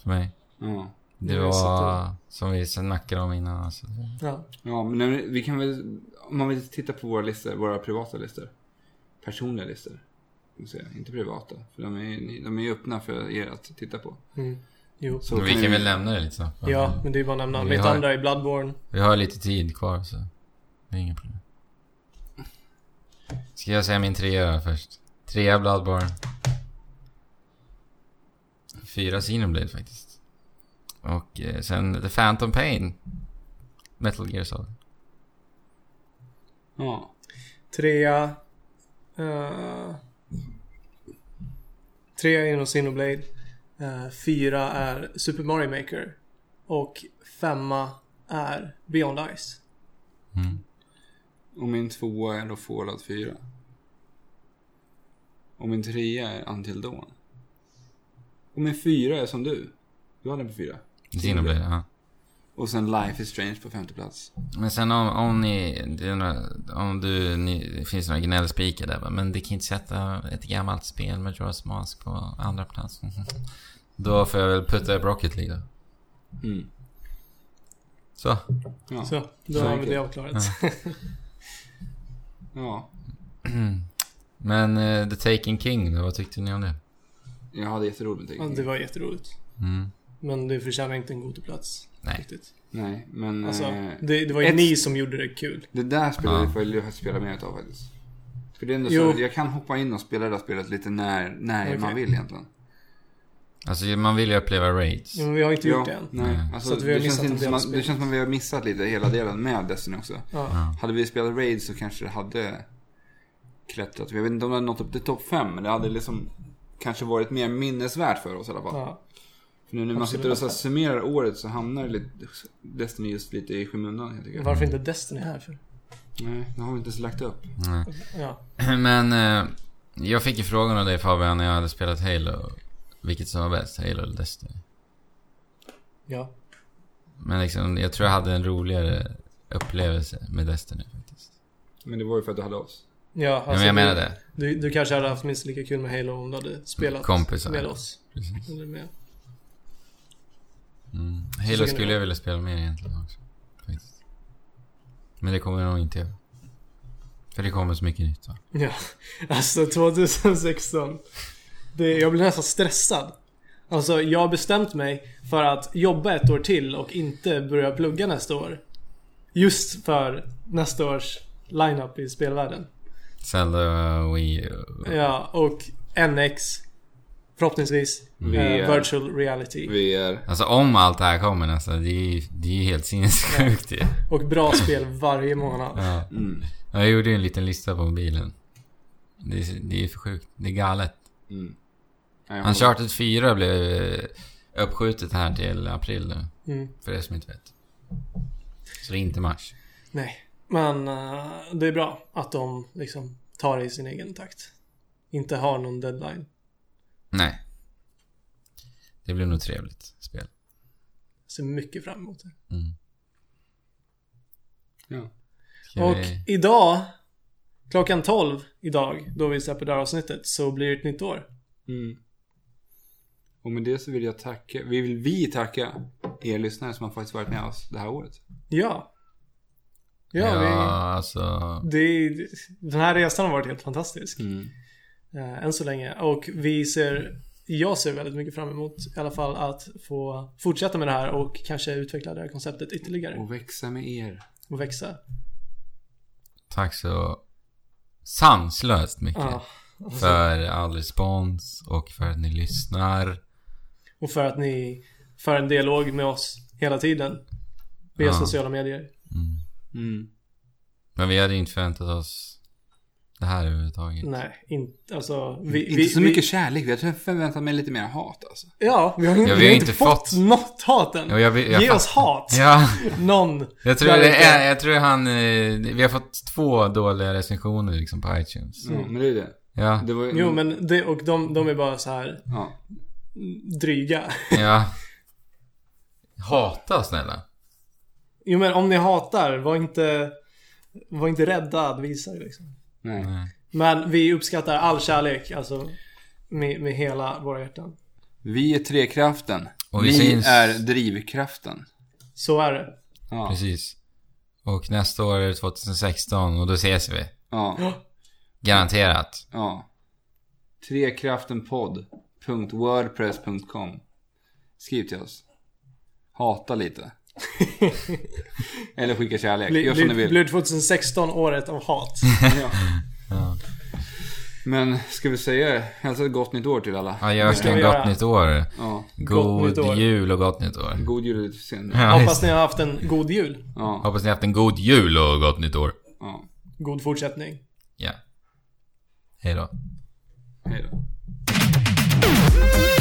[SPEAKER 2] för mig.
[SPEAKER 1] Ja.
[SPEAKER 2] Det
[SPEAKER 3] Ja,
[SPEAKER 2] var
[SPEAKER 3] så
[SPEAKER 2] som vi snackade om innan. Alltså.
[SPEAKER 3] Ja.
[SPEAKER 1] Ja, men när- vi kan väl... Om man vill titta på våra listor, våra privata listor. Personliga listor. Ska vi se, Inte privata, för de är ju de är ju öppna för er att titta på.
[SPEAKER 3] Mm. Jo.
[SPEAKER 1] Så
[SPEAKER 2] vi
[SPEAKER 1] ni-
[SPEAKER 2] kan väl lämna det lite snabbt. va?
[SPEAKER 3] Ja, men det är ju bara att nämna.
[SPEAKER 2] Vi
[SPEAKER 3] Mitt
[SPEAKER 2] har-
[SPEAKER 3] andra är Bloodborne.
[SPEAKER 2] Vi har lite tid kvar så det är inga problem. Ska jag säga min trea först? Trea Bloodborne. Fyra Xenoblade faktiskt. Och eh, sen The Phantom Pain. Metal Gear Solid.
[SPEAKER 1] Ja.
[SPEAKER 3] Trea... eh, trea är nog Xenoblade. Eh, fyra är Super Mario Maker. Och femma är Beyond Ice.
[SPEAKER 2] Mm.
[SPEAKER 1] Och min tvåa är då Fallout 4. Och min trea är Until Dawn. Och min fyra är som du. Du har den på fyra.
[SPEAKER 2] Xenoblade, ja.
[SPEAKER 1] Och sen Life is Strange på femte plats.
[SPEAKER 2] Men sen om, om ni... det är några- Om du... Ni, det finns några gnällspikar där va? Men det kan inte sätta ett gammalt spel med Joras Mask på andra plats. Då får jag väl putta upp Rocket League då.
[SPEAKER 1] Mm.
[SPEAKER 2] Så.
[SPEAKER 1] Ja.
[SPEAKER 3] Så, då
[SPEAKER 1] Så
[SPEAKER 3] har vi
[SPEAKER 1] enkelt.
[SPEAKER 3] det avklarat.
[SPEAKER 1] ja.
[SPEAKER 2] Men eh, The Taken King då, vad tyckte ni om det?
[SPEAKER 1] Jag hade jätteroligt.
[SPEAKER 3] Ja,
[SPEAKER 1] tänker
[SPEAKER 3] det
[SPEAKER 1] jag.
[SPEAKER 3] var jätteroligt.
[SPEAKER 2] Mm.
[SPEAKER 3] Men det förtjänar inte en god plats.
[SPEAKER 2] Nej.
[SPEAKER 3] Riktigt.
[SPEAKER 1] Nej, men...
[SPEAKER 3] Alltså,
[SPEAKER 1] eh,
[SPEAKER 3] det, det var ju
[SPEAKER 1] Ett-
[SPEAKER 3] ni som gjorde det kul.
[SPEAKER 1] Det där spelet
[SPEAKER 2] Ja.
[SPEAKER 1] vill jag spela mer utav faktiskt. För det är ändå
[SPEAKER 3] Jo.
[SPEAKER 1] så, jag kan hoppa in och spela det där spelet lite när, när
[SPEAKER 3] Okej.
[SPEAKER 1] man vill egentligen.
[SPEAKER 2] Alltså man vill ju uppleva raids.
[SPEAKER 3] Ja, Men vi har inte gjort det än.
[SPEAKER 1] nej.
[SPEAKER 2] Nej.
[SPEAKER 1] Alltså,
[SPEAKER 3] Så att vi har
[SPEAKER 1] det, känns
[SPEAKER 3] missat en
[SPEAKER 1] inte
[SPEAKER 3] del
[SPEAKER 1] som
[SPEAKER 3] av
[SPEAKER 1] att, det
[SPEAKER 3] spelet.
[SPEAKER 1] känns som att vi har missat lite hela delen med Destiny också.
[SPEAKER 3] Ja.
[SPEAKER 2] Ja.
[SPEAKER 1] Hade vi spelat Raid så kanske det hade klättrat. Jag vet inte om det hade nått upp till topp 5, men det hade liksom kanske varit mer minnesvärt för oss i alla fall.
[SPEAKER 3] Ja.
[SPEAKER 1] För nu när man
[SPEAKER 3] Absolut.
[SPEAKER 1] sitter och så här summerar året så hamnar lite, Destiny just lite i skymundan. Jag tycker.
[SPEAKER 3] Varför inte Destiny här för?
[SPEAKER 1] Nej, det har vi inte ens lagt upp.
[SPEAKER 2] Nej.
[SPEAKER 3] Ja.
[SPEAKER 2] Men eh, jag fick ju frågan av dig Fabian när jag hade spelat Halo. Vilket som var bäst, Halo eller Destiny?
[SPEAKER 3] Ja.
[SPEAKER 2] Men liksom, jag tror jag hade en roligare upplevelse med Destiny faktiskt.
[SPEAKER 1] Men det var ju för att du hade oss.
[SPEAKER 3] Ja, alltså,
[SPEAKER 2] Ja, men jag menar
[SPEAKER 3] du,
[SPEAKER 2] det.
[SPEAKER 3] Du, du kanske hade haft minst lika kul med Halo om du hade spelat
[SPEAKER 2] Kompisar.
[SPEAKER 3] med oss.
[SPEAKER 2] Precis.
[SPEAKER 3] Eller med.
[SPEAKER 2] Mm.
[SPEAKER 3] Så kan
[SPEAKER 2] Halo
[SPEAKER 3] det
[SPEAKER 2] skulle
[SPEAKER 3] vara.
[SPEAKER 2] jag vilja spela mer egentligen också. Faktiskt. Men det kommer jag nog inte göra. För det kommer så mycket nytt va?
[SPEAKER 3] Ja, alltså 2016. Det, jag blir nästan stressad. Alltså jag har bestämt mig för att jobba ett år till och inte börja plugga nästa år. Just för nästa års lineup i spelvärlden.
[SPEAKER 2] Zelda, uh, Wii U.
[SPEAKER 3] Ja, och NX. Förhoppningsvis.
[SPEAKER 2] Mm.
[SPEAKER 3] Eh,
[SPEAKER 1] VR.
[SPEAKER 3] virtual reality.
[SPEAKER 1] VR.
[SPEAKER 2] Alltså om allt det här kommer nästan, det är ju, det är ju helt sinnessjukt ju.
[SPEAKER 3] Och bra spel varje månad.
[SPEAKER 2] Ja.
[SPEAKER 1] Mm.
[SPEAKER 2] Jag gjorde ju en liten lista på mobilen. Det är, det är för sjukt. Det är galet.
[SPEAKER 1] Mm. Nej, jag håller-
[SPEAKER 2] Uncharted 4 blev eh, uppskjutet här till april nu.
[SPEAKER 3] Mm.
[SPEAKER 2] För er som inte vet. Så det är inte mars.
[SPEAKER 3] Nej, men eh, det är bra att de liksom tar det i sin egen takt. Inte har någon deadline.
[SPEAKER 2] Nej. Det blir nog trevligt spel.
[SPEAKER 3] Ser mycket fram emot det.
[SPEAKER 2] Mm.
[SPEAKER 1] Ja.
[SPEAKER 2] Ska
[SPEAKER 3] Och
[SPEAKER 2] vi...
[SPEAKER 3] idag, klockan 12 idag, då vi släpper det här avsnittet, så blir det ett nytt år.
[SPEAKER 1] Mm. Och med det så vill jag tacka, vi vill vi tacka er lyssnare som har faktiskt varit med oss det här året.
[SPEAKER 3] Ja. Ja,
[SPEAKER 2] Ja,
[SPEAKER 3] Vi,
[SPEAKER 2] alltså...
[SPEAKER 3] det är, den här resan har varit helt fantastisk.
[SPEAKER 1] Mm.
[SPEAKER 3] Eh, än så länge. Och vi ser, jag ser väldigt mycket fram emot i alla fall att få fortsätta med det här och kanske utveckla det här konceptet ytterligare
[SPEAKER 1] Och växa med er.
[SPEAKER 3] och växa.
[SPEAKER 2] Tack så sanslöst mycket.
[SPEAKER 3] Ja.
[SPEAKER 2] För all respons och för att ni lyssnar.
[SPEAKER 3] Och för att ni för en dialog med oss hela tiden. Via
[SPEAKER 2] Ja.
[SPEAKER 3] sociala medier.
[SPEAKER 2] Mm.
[SPEAKER 1] Mm.
[SPEAKER 2] Men vi hade inte förväntat oss det här överhuvudtaget.
[SPEAKER 3] Nej, inte, alltså, vi,
[SPEAKER 1] Inte
[SPEAKER 3] vi,
[SPEAKER 1] så
[SPEAKER 3] vi,
[SPEAKER 1] mycket kärlek, jag tror jag förväntar mig lite mer hat alltså.
[SPEAKER 3] Ja, vi har, inte-
[SPEAKER 2] vi har
[SPEAKER 3] vi har
[SPEAKER 2] inte
[SPEAKER 3] inte fått,
[SPEAKER 2] fått-
[SPEAKER 3] något hat än.
[SPEAKER 2] Ja, jag vill- jag
[SPEAKER 3] Ge oss
[SPEAKER 2] fattar.
[SPEAKER 3] hat.
[SPEAKER 2] Ja,
[SPEAKER 3] Någon.
[SPEAKER 2] jag tror,
[SPEAKER 3] Där
[SPEAKER 2] det
[SPEAKER 3] ute.
[SPEAKER 2] är, jag tror han... eh, Vi har fått två dåliga recensioner liksom på iTunes.
[SPEAKER 1] Ja, men det är det.
[SPEAKER 2] Ja,
[SPEAKER 1] det var, ju-
[SPEAKER 3] Mm. Jo, men det, och de, de är bara så här
[SPEAKER 1] Ja.
[SPEAKER 3] dryga.
[SPEAKER 2] ja. Hata snälla.
[SPEAKER 3] Jo, men om ni hatar, var inte, var inte rädda att visa det liksom.
[SPEAKER 1] Nej.
[SPEAKER 2] Nej.
[SPEAKER 3] Men vi uppskattar all kärlek, alltså. med, med hela våra hjärtan.
[SPEAKER 1] Vi är trekraften.
[SPEAKER 2] Och vi
[SPEAKER 1] Ni
[SPEAKER 2] syns.
[SPEAKER 1] är drivkraften.
[SPEAKER 3] Så är det.
[SPEAKER 1] Ja.
[SPEAKER 2] Precis. Och nästa år är det 2016 och då ses vi.
[SPEAKER 1] ja,
[SPEAKER 2] Garanterat.
[SPEAKER 1] ja. Trekraftenpodd.wordpress.com Skriv till oss. Hata lite. Eller skicka kärlek. Gör som ni
[SPEAKER 3] Blir
[SPEAKER 1] vill.
[SPEAKER 3] blir 2016 året av hat?
[SPEAKER 1] Ja. Men ska vi säga hälsa ett gott nytt år till alla.
[SPEAKER 2] Ja, jag
[SPEAKER 3] ska
[SPEAKER 2] önskar
[SPEAKER 3] vi
[SPEAKER 2] gott
[SPEAKER 3] göra.
[SPEAKER 2] nytt år.
[SPEAKER 1] Ja.
[SPEAKER 2] God
[SPEAKER 3] nytt år.
[SPEAKER 2] jul och gott nytt år.
[SPEAKER 1] God jul lite senare.
[SPEAKER 2] Ja,
[SPEAKER 3] Hoppas
[SPEAKER 2] visst.
[SPEAKER 3] ni har haft en god jul.
[SPEAKER 1] Ja.
[SPEAKER 2] Hoppas ni haft en god jul och gott nytt år.
[SPEAKER 1] ja.
[SPEAKER 3] God fortsättning.
[SPEAKER 2] Ja. Hej då.
[SPEAKER 1] Hej då.
[SPEAKER 4] Thank